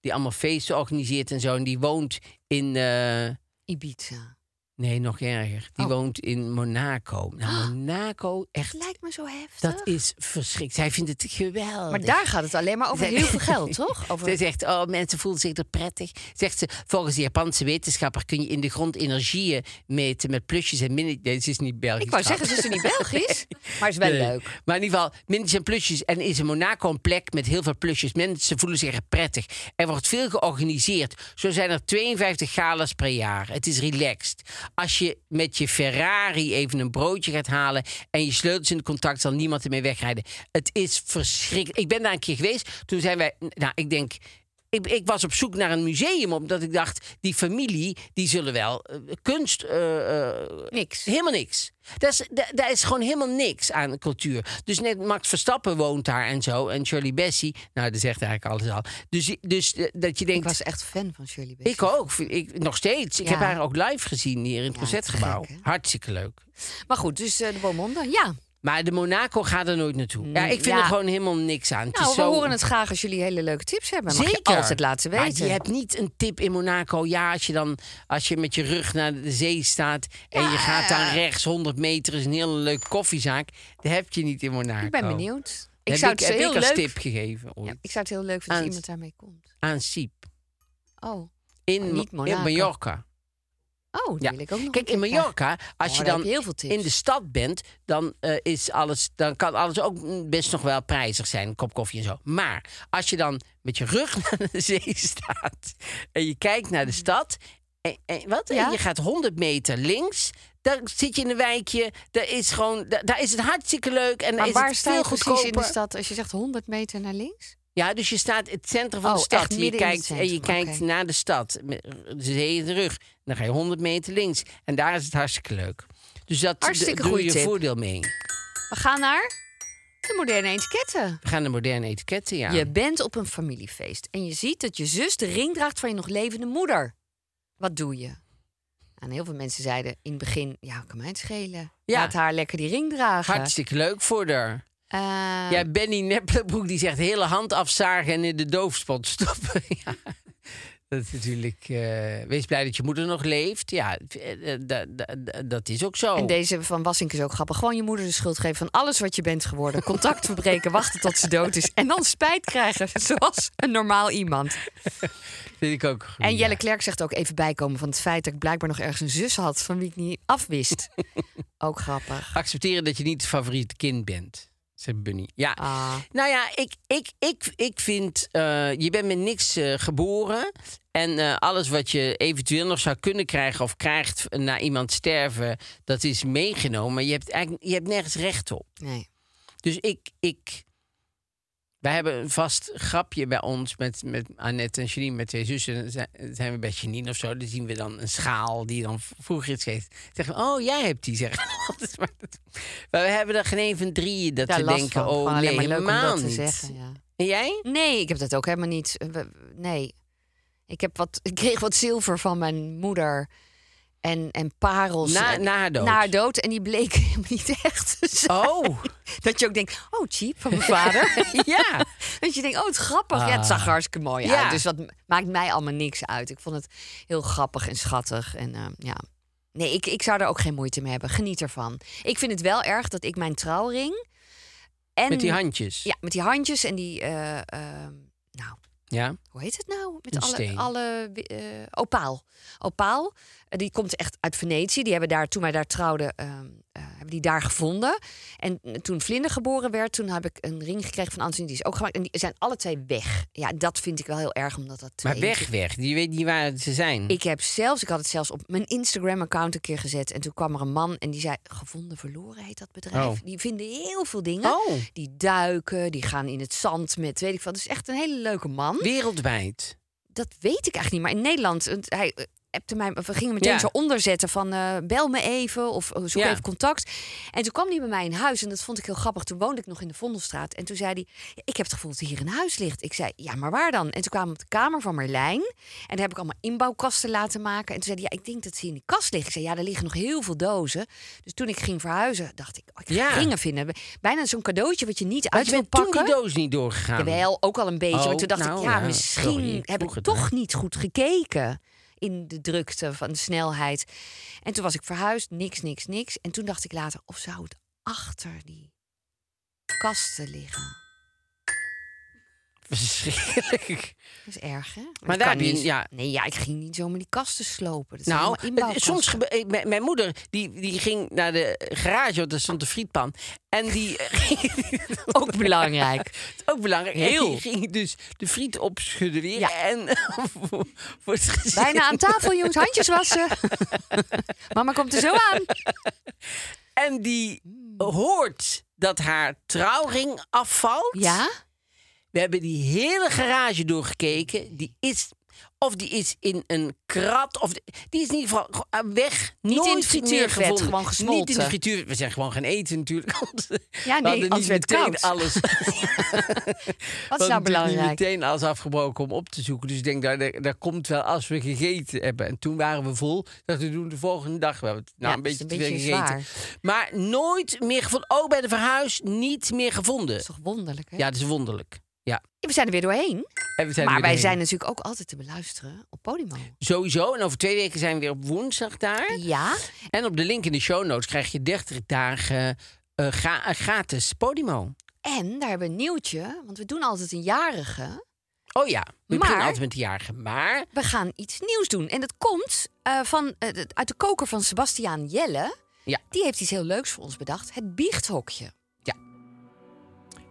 [SPEAKER 2] Die allemaal feesten organiseert en zo. En die woont in. eh,
[SPEAKER 3] Ibiza.
[SPEAKER 2] nee, nog erger. Die
[SPEAKER 3] Oh.
[SPEAKER 2] woont in Monaco. Nou, Monaco, echt.
[SPEAKER 3] Het lijkt me zo heftig.
[SPEAKER 2] Dat is verschrikkelijk. Zij vindt het geweldig.
[SPEAKER 3] Maar daar gaat het alleen maar over
[SPEAKER 2] Zij-
[SPEAKER 3] heel veel geld, toch? Over...
[SPEAKER 2] Ze zegt, oh, mensen voelen zich er prettig. Zegt ze, volgens de Japanse wetenschapper kun je in de grond energieën meten met plusjes en minnetjes. Nee, ze is niet Belgisch.
[SPEAKER 3] Ik wou zeggen,
[SPEAKER 2] trouwens.
[SPEAKER 3] ze is er niet Belgisch, maar is wel
[SPEAKER 2] Nee.
[SPEAKER 3] leuk.
[SPEAKER 2] Maar in ieder geval, minnetjes en plusjes. En is in Monaco een plek met heel veel plusjes. Mensen voelen zich er prettig. Er wordt veel georganiseerd. Zo zijn er 52 galas per jaar. Het is relaxed. Als je met je Ferrari even een broodje gaat halen... en je sleutels in de contact, zal niemand ermee wegrijden. Het is verschrikkelijk. Ik ben daar een keer geweest. Toen zijn wij... Nou, ik denk... Ik, ik was op zoek naar een museum, omdat ik dacht... die familie, die zullen wel eh, kunst eh, eh,
[SPEAKER 3] Niks.
[SPEAKER 2] Helemaal niks. Daar is, daar, daar is gewoon helemaal niks aan cultuur. Dus net Max Verstappen woont daar en zo. En Shirley Bessie. Nou, dat zegt eigenlijk alles al. Dus, dus eh, dat je
[SPEAKER 3] Ik
[SPEAKER 2] denkt...
[SPEAKER 3] was echt fan van Shirley Bassey.
[SPEAKER 2] ik ook. Ik, nog steeds. Ik
[SPEAKER 3] Ja.
[SPEAKER 2] heb haar ook live gezien hier in het
[SPEAKER 3] Ja,
[SPEAKER 2] Concertgebouw.
[SPEAKER 3] te gek, hè?
[SPEAKER 2] Hartstikke leuk.
[SPEAKER 3] Maar goed, dus eh, de Beaumonde, ja.
[SPEAKER 2] Maar de Monaco gaat er nooit naartoe. Ja, ik vind
[SPEAKER 3] Mm, ja.
[SPEAKER 2] er gewoon helemaal niks aan. Het
[SPEAKER 3] Nou,
[SPEAKER 2] is
[SPEAKER 3] we
[SPEAKER 2] zo...
[SPEAKER 3] horen het graag als jullie hele leuke tips hebben. Mag
[SPEAKER 2] Zeker.
[SPEAKER 3] je altijd laten
[SPEAKER 2] Maar
[SPEAKER 3] weten.
[SPEAKER 2] je hebt niet een tip in Monaco. Ja, als je dan als je met je rug naar de zee staat en je gaat dan rechts 100 meter is een hele leuke koffiezaak. Dat heb je niet in Monaco.
[SPEAKER 3] Ik ben benieuwd. Ik
[SPEAKER 2] heb
[SPEAKER 3] zou
[SPEAKER 2] ik,
[SPEAKER 3] het
[SPEAKER 2] heb
[SPEAKER 3] heel
[SPEAKER 2] ik als
[SPEAKER 3] leuk...
[SPEAKER 2] tip gegeven ooit.
[SPEAKER 3] Ja, ik zou het heel leuk vinden als
[SPEAKER 2] Aan-
[SPEAKER 3] iemand daarmee komt.
[SPEAKER 2] aan Siep.
[SPEAKER 3] Oh,
[SPEAKER 2] In,
[SPEAKER 3] Oh, niet
[SPEAKER 2] Ma- in
[SPEAKER 3] Monaco.
[SPEAKER 2] Mallorca.
[SPEAKER 3] oh die
[SPEAKER 2] Ja.
[SPEAKER 3] wil ik ook nog
[SPEAKER 2] Kijk, in
[SPEAKER 3] een keer krijgen.
[SPEAKER 2] Mallorca, als
[SPEAKER 3] Oh,
[SPEAKER 2] je
[SPEAKER 3] daar
[SPEAKER 2] dan
[SPEAKER 3] heb je heel veel tips.
[SPEAKER 2] in de stad bent, dan, eh, is alles, dan kan alles ook mm, best nog wel prijzig zijn. Een kop koffie en zo. Maar als je dan met je rug naar de zee staat en je kijkt naar de stad. En, en, wat?
[SPEAKER 3] Mm. Ja.
[SPEAKER 2] en je gaat 100 meter links. Dan zit je in een wijkje. Daar is, gewoon, daar, daar is het hartstikke leuk. En
[SPEAKER 3] Maar
[SPEAKER 2] is
[SPEAKER 3] waar
[SPEAKER 2] het
[SPEAKER 3] sta
[SPEAKER 2] veel
[SPEAKER 3] je precies in de
[SPEAKER 2] goedkoper.
[SPEAKER 3] stad als je zegt 100 meter naar links?
[SPEAKER 2] Ja, dus je staat in het centrum van
[SPEAKER 3] Oh,
[SPEAKER 2] de stad.
[SPEAKER 3] echt
[SPEAKER 2] Je
[SPEAKER 3] midden in het
[SPEAKER 2] kijkt, en je
[SPEAKER 3] centrum,
[SPEAKER 2] kijkt
[SPEAKER 3] oké.
[SPEAKER 2] naar de stad. Met de zee in de rug. Dan ga je 100 meter links. En daar is het hartstikke leuk. Dus dat
[SPEAKER 3] Hartstikke
[SPEAKER 2] d- doe
[SPEAKER 3] goeie
[SPEAKER 2] je
[SPEAKER 3] tip.
[SPEAKER 2] voordeel mee.
[SPEAKER 3] We gaan naar de moderne etiketten.
[SPEAKER 2] We gaan de moderne etiketten, ja.
[SPEAKER 3] Je bent op een familiefeest en je ziet dat je zus de ring draagt van je nog levende moeder. Wat doe je? Nou, En heel veel mensen zeiden in het begin, ja, kan mij het schelen.
[SPEAKER 2] Ja.
[SPEAKER 3] Laat haar lekker die ring dragen.
[SPEAKER 2] Hartstikke leuk voor haar.
[SPEAKER 3] Eh,
[SPEAKER 2] Ja, Benny Neppelenbroek die zegt hele hand afzagen en in de doofspot stoppen. ja. Dat is natuurlijk... eh, wees blij dat je moeder nog leeft. Ja, eh, eh, da- da- da- dat is ook zo.
[SPEAKER 3] En deze van Wassink is ook grappig. Gewoon je moeder de schuld geven van alles wat je bent geworden. Contact verbreken, wachten tot ze dood is. En dan spijt krijgen, zoals een normaal iemand.
[SPEAKER 2] vind ik ook goed,
[SPEAKER 3] En
[SPEAKER 2] ja.
[SPEAKER 3] Jelle Klerk zegt ook even bijkomen van het feit... dat ik blijkbaar nog ergens een zus had van wie ik niet afwist. ook grappig.
[SPEAKER 2] accepteren dat je niet het favoriete kind bent. Zei Bunny. Ja.
[SPEAKER 3] Ah.
[SPEAKER 2] Nou ja, ik, ik, ik, ik vind, eh, je bent met niks eh, geboren. En eh, alles wat je eventueel nog zou kunnen krijgen of krijgt na iemand sterven, dat is meegenomen. Maar je hebt, eigenlijk, je hebt nergens recht op.
[SPEAKER 3] Nee.
[SPEAKER 2] Dus ik, ik. Wij hebben een vast grapje bij ons met, met Annette en Janine, met twee zussen. Dan zijn- Zijn we bij Janine of zo? Dan zien we dan een schaal die dan v- vroeger iets geeft. Zeggen we, oh, jij hebt die, zeggen we altijd. Maar, dat- maar we hebben er geen een van drieën dat
[SPEAKER 3] Ja,
[SPEAKER 2] we
[SPEAKER 3] last
[SPEAKER 2] denken,
[SPEAKER 3] van.
[SPEAKER 2] oh,
[SPEAKER 3] Gewoon alleen
[SPEAKER 2] nee,
[SPEAKER 3] maar leuk om
[SPEAKER 2] helemaal
[SPEAKER 3] dat te
[SPEAKER 2] niet.
[SPEAKER 3] zeggen. Ja.
[SPEAKER 2] En jij?
[SPEAKER 3] Nee, ik heb dat ook helemaal niet. Eh, we- Nee. Ik, heb wat, ik kreeg wat zilver van mijn moeder. En, en parels.
[SPEAKER 2] Na-
[SPEAKER 3] en,
[SPEAKER 2] na haar dood?
[SPEAKER 3] Na haar dood. En die bleek helemaal niet echt te zijn.
[SPEAKER 2] Oh,
[SPEAKER 3] Dat je ook denkt, oh, cheap van mijn vader.
[SPEAKER 2] ja.
[SPEAKER 3] Dat je denkt, oh, het is grappig. Ja, het zag er hartstikke mooi
[SPEAKER 2] Ja.
[SPEAKER 3] uit. Dus dat maakt mij allemaal niks uit. Ik vond het heel grappig en schattig. En eh, ja. Nee, ik, ik zou er ook geen moeite mee hebben. Geniet ervan. Ik vind het wel erg dat ik mijn trouwring... En,
[SPEAKER 2] Met die handjes.
[SPEAKER 3] Ja, met die handjes en die... eh, eh, nou,
[SPEAKER 2] Ja.
[SPEAKER 3] hoe heet het nou? Met
[SPEAKER 2] Een
[SPEAKER 3] alle,
[SPEAKER 2] steen.
[SPEAKER 3] alle eh, opaal. Opaal, eh, die komt echt uit Venetië. Die hebben daar, toen wij daar trouwden, ehm, eh, hebben die daar gevonden. En eh, toen Vlinder geboren werd, toen heb ik een ring gekregen van Anthony. Die is ook gemaakt. En die zijn alle twee weg. Ja, dat vind ik wel heel erg, omdat dat twee...
[SPEAKER 2] Maar weg, weg. Je weet niet waar ze zijn.
[SPEAKER 3] Ik heb zelfs, ik had het zelfs op mijn Instagram-account een keer gezet. En toen kwam er een man en die zei: Gevonden verloren heet dat bedrijf.
[SPEAKER 2] Oh.
[SPEAKER 3] Die vinden heel veel dingen.
[SPEAKER 2] Oh.
[SPEAKER 3] Die duiken, die gaan in het zand met weet ik wat. Het is echt een hele leuke man.
[SPEAKER 2] Wereldwijd.
[SPEAKER 3] Dat weet ik eigenlijk niet. Maar in Nederland, het- hij eh, appte mij, of we gingen meteen
[SPEAKER 2] Ja.
[SPEAKER 3] zo onderzetten van eh, bel me even of eh, zoek
[SPEAKER 2] Ja.
[SPEAKER 3] even contact. En toen kwam hij bij mij in huis en dat vond ik heel grappig. Toen woonde ik nog in de Vondelstraat en toen zei hij, "Ja, ik heb het gevoel dat hier een huis ligt. Ik zei, ja, maar waar dan? En toen kwamen we op de kamer van Merlijn en daar heb ik allemaal inbouwkasten laten maken. En toen zei hij, ja, ik denk dat ze in die kast liggen. Ik zei, ja, daar liggen nog heel veel dozen. Dus toen ik ging verhuizen, dacht ik, oh, ik ga
[SPEAKER 2] Ja.
[SPEAKER 3] ringen vinden. Bijna zo'n cadeautje wat je niet
[SPEAKER 2] Maar
[SPEAKER 3] uit
[SPEAKER 2] je
[SPEAKER 3] wil
[SPEAKER 2] bent toen die
[SPEAKER 3] pakken.
[SPEAKER 2] doos niet doorgegaan.
[SPEAKER 3] Jawel, ook al een beetje.
[SPEAKER 2] Oh,
[SPEAKER 3] maar toen dacht
[SPEAKER 2] nou
[SPEAKER 3] ik, ja,
[SPEAKER 2] ja,
[SPEAKER 3] misschien
[SPEAKER 2] sorry, ik
[SPEAKER 3] heb
[SPEAKER 2] vroeg
[SPEAKER 3] ik
[SPEAKER 2] het
[SPEAKER 3] toch
[SPEAKER 2] maar.
[SPEAKER 3] niet goed gekeken in de drukte van de snelheid. En toen was ik verhuisd, niks, niks, niks. En toen dacht ik later, of zou het achter die kasten liggen?
[SPEAKER 2] Verschrikkelijk.
[SPEAKER 3] Dat is erg, hè? Maar,
[SPEAKER 2] daar
[SPEAKER 3] dat kan
[SPEAKER 2] heb je-
[SPEAKER 3] niet.
[SPEAKER 2] ja.
[SPEAKER 3] Nee, ja, ik ging niet zomaar die kasten slopen. Dat zijn
[SPEAKER 2] Nou,
[SPEAKER 3] allemaal
[SPEAKER 2] het- soms
[SPEAKER 3] inbouwkasten.
[SPEAKER 2] gebe- eh, mijn- Mijn moeder die, die ging naar de garage, want daar stond een frietpan. En die
[SPEAKER 3] Ook belangrijk.
[SPEAKER 2] Het is ook belangrijk.
[SPEAKER 3] Heel.
[SPEAKER 2] En die ging dus de friet opschudden weer.
[SPEAKER 3] Ja.
[SPEAKER 2] En voor- voor het gezin.
[SPEAKER 3] Bijna aan tafel, jongens. Handjes wassen. Mama komt er zo aan.
[SPEAKER 2] En die hoort dat haar trouwring afvalt.
[SPEAKER 3] Ja?
[SPEAKER 2] We hebben die hele garage doorgekeken. Die is... Of die is in een krat. Of die is in ieder geval gewoon, eh, weg.
[SPEAKER 3] Niet in
[SPEAKER 2] Nooit
[SPEAKER 3] het
[SPEAKER 2] meer
[SPEAKER 3] frituurvet,
[SPEAKER 2] gevonden.
[SPEAKER 3] gewoon
[SPEAKER 2] Niet in de
[SPEAKER 3] gesmolten.
[SPEAKER 2] frituur. We zijn gewoon gaan eten natuurlijk. want we
[SPEAKER 3] nee,
[SPEAKER 2] hadden niet
[SPEAKER 3] anders werd het
[SPEAKER 2] meteen
[SPEAKER 3] koud.
[SPEAKER 2] alles.
[SPEAKER 3] Wat is nou
[SPEAKER 2] natuurlijk
[SPEAKER 3] belangrijk?
[SPEAKER 2] niet meteen alles afgebroken om op te zoeken. Dus ik denk, daar, daar, daar komt wel als we gegeten hebben. En toen waren we vol. Dat we doen de volgende dag. We hebben het nou
[SPEAKER 3] Ja,
[SPEAKER 2] een
[SPEAKER 3] het is
[SPEAKER 2] beetje te
[SPEAKER 3] een
[SPEAKER 2] veel
[SPEAKER 3] beetje
[SPEAKER 2] gegeten. Maar nooit meer gevonden. Ook bij de verhuis niet meer gevonden.
[SPEAKER 3] Dat is toch wonderlijk, hè?
[SPEAKER 2] Ja, dat is wonderlijk. Ja.
[SPEAKER 3] We zijn er weer doorheen.
[SPEAKER 2] En we zijn er
[SPEAKER 3] maar
[SPEAKER 2] weer
[SPEAKER 3] wij
[SPEAKER 2] heen.
[SPEAKER 3] zijn natuurlijk ook altijd te beluisteren op Podimo.
[SPEAKER 2] Sowieso. En over twee weken zijn we weer op woensdag daar.
[SPEAKER 3] Ja,
[SPEAKER 2] En op de link in de show notes krijg je 30 dagen eh, ga- eh, gratis Podimo.
[SPEAKER 3] en daar hebben we een nieuwtje, want we doen altijd een jarige.
[SPEAKER 2] Oh ja, we
[SPEAKER 3] Maar-
[SPEAKER 2] beginnen altijd met de jarige. Maar
[SPEAKER 3] We gaan iets nieuws doen. En dat komt eh, van, eh, de- uit de koker van Sebastiaan Jelle.
[SPEAKER 2] Ja.
[SPEAKER 3] Die heeft iets heel leuks voor ons bedacht. Het biechthokje.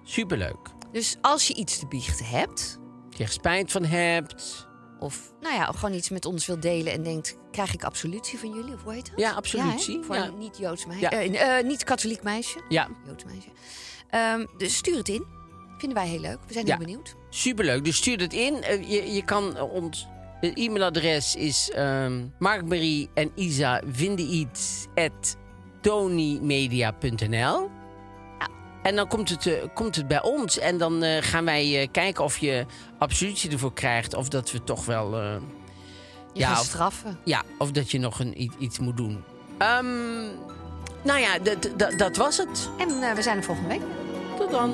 [SPEAKER 2] superleuk.
[SPEAKER 3] Dus als je iets te biechten hebt...
[SPEAKER 2] Als je er spijt van hebt.
[SPEAKER 3] of nou ja, gewoon iets met ons wilt delen en denkt... krijg ik absolutie van jullie? Of hoe heet dat?
[SPEAKER 2] Ja,
[SPEAKER 3] hè?
[SPEAKER 2] absolutie,
[SPEAKER 3] voor
[SPEAKER 2] ja.
[SPEAKER 3] een niet-Joods meisje.
[SPEAKER 2] Ja.
[SPEAKER 3] eh, eh, niet-katholiek meisje.
[SPEAKER 2] Ja,
[SPEAKER 3] Joods meisje. Ehm, dus stuur het in. Vinden wij heel leuk. We zijn
[SPEAKER 2] Ja.
[SPEAKER 3] heel benieuwd.
[SPEAKER 2] Superleuk, dus stuur dat in. Eh, Je, je kan eh, ons het e-mailadres is ehm Markmarie en Isa vinden iets at tonymedia.nl. En dan komt het, eh, komt het bij ons en dan eh, gaan wij eh, kijken of je absolutie ervoor krijgt. Of dat we toch wel. eh,
[SPEAKER 3] Je
[SPEAKER 2] Ja,
[SPEAKER 3] gaat
[SPEAKER 2] of-
[SPEAKER 3] straffen.
[SPEAKER 2] ja, of dat je nog een, i- iets moet doen. Ehm, nou ja, dat- dat- dat was het.
[SPEAKER 3] En eh, we zijn er volgende week.
[SPEAKER 2] Tot dan.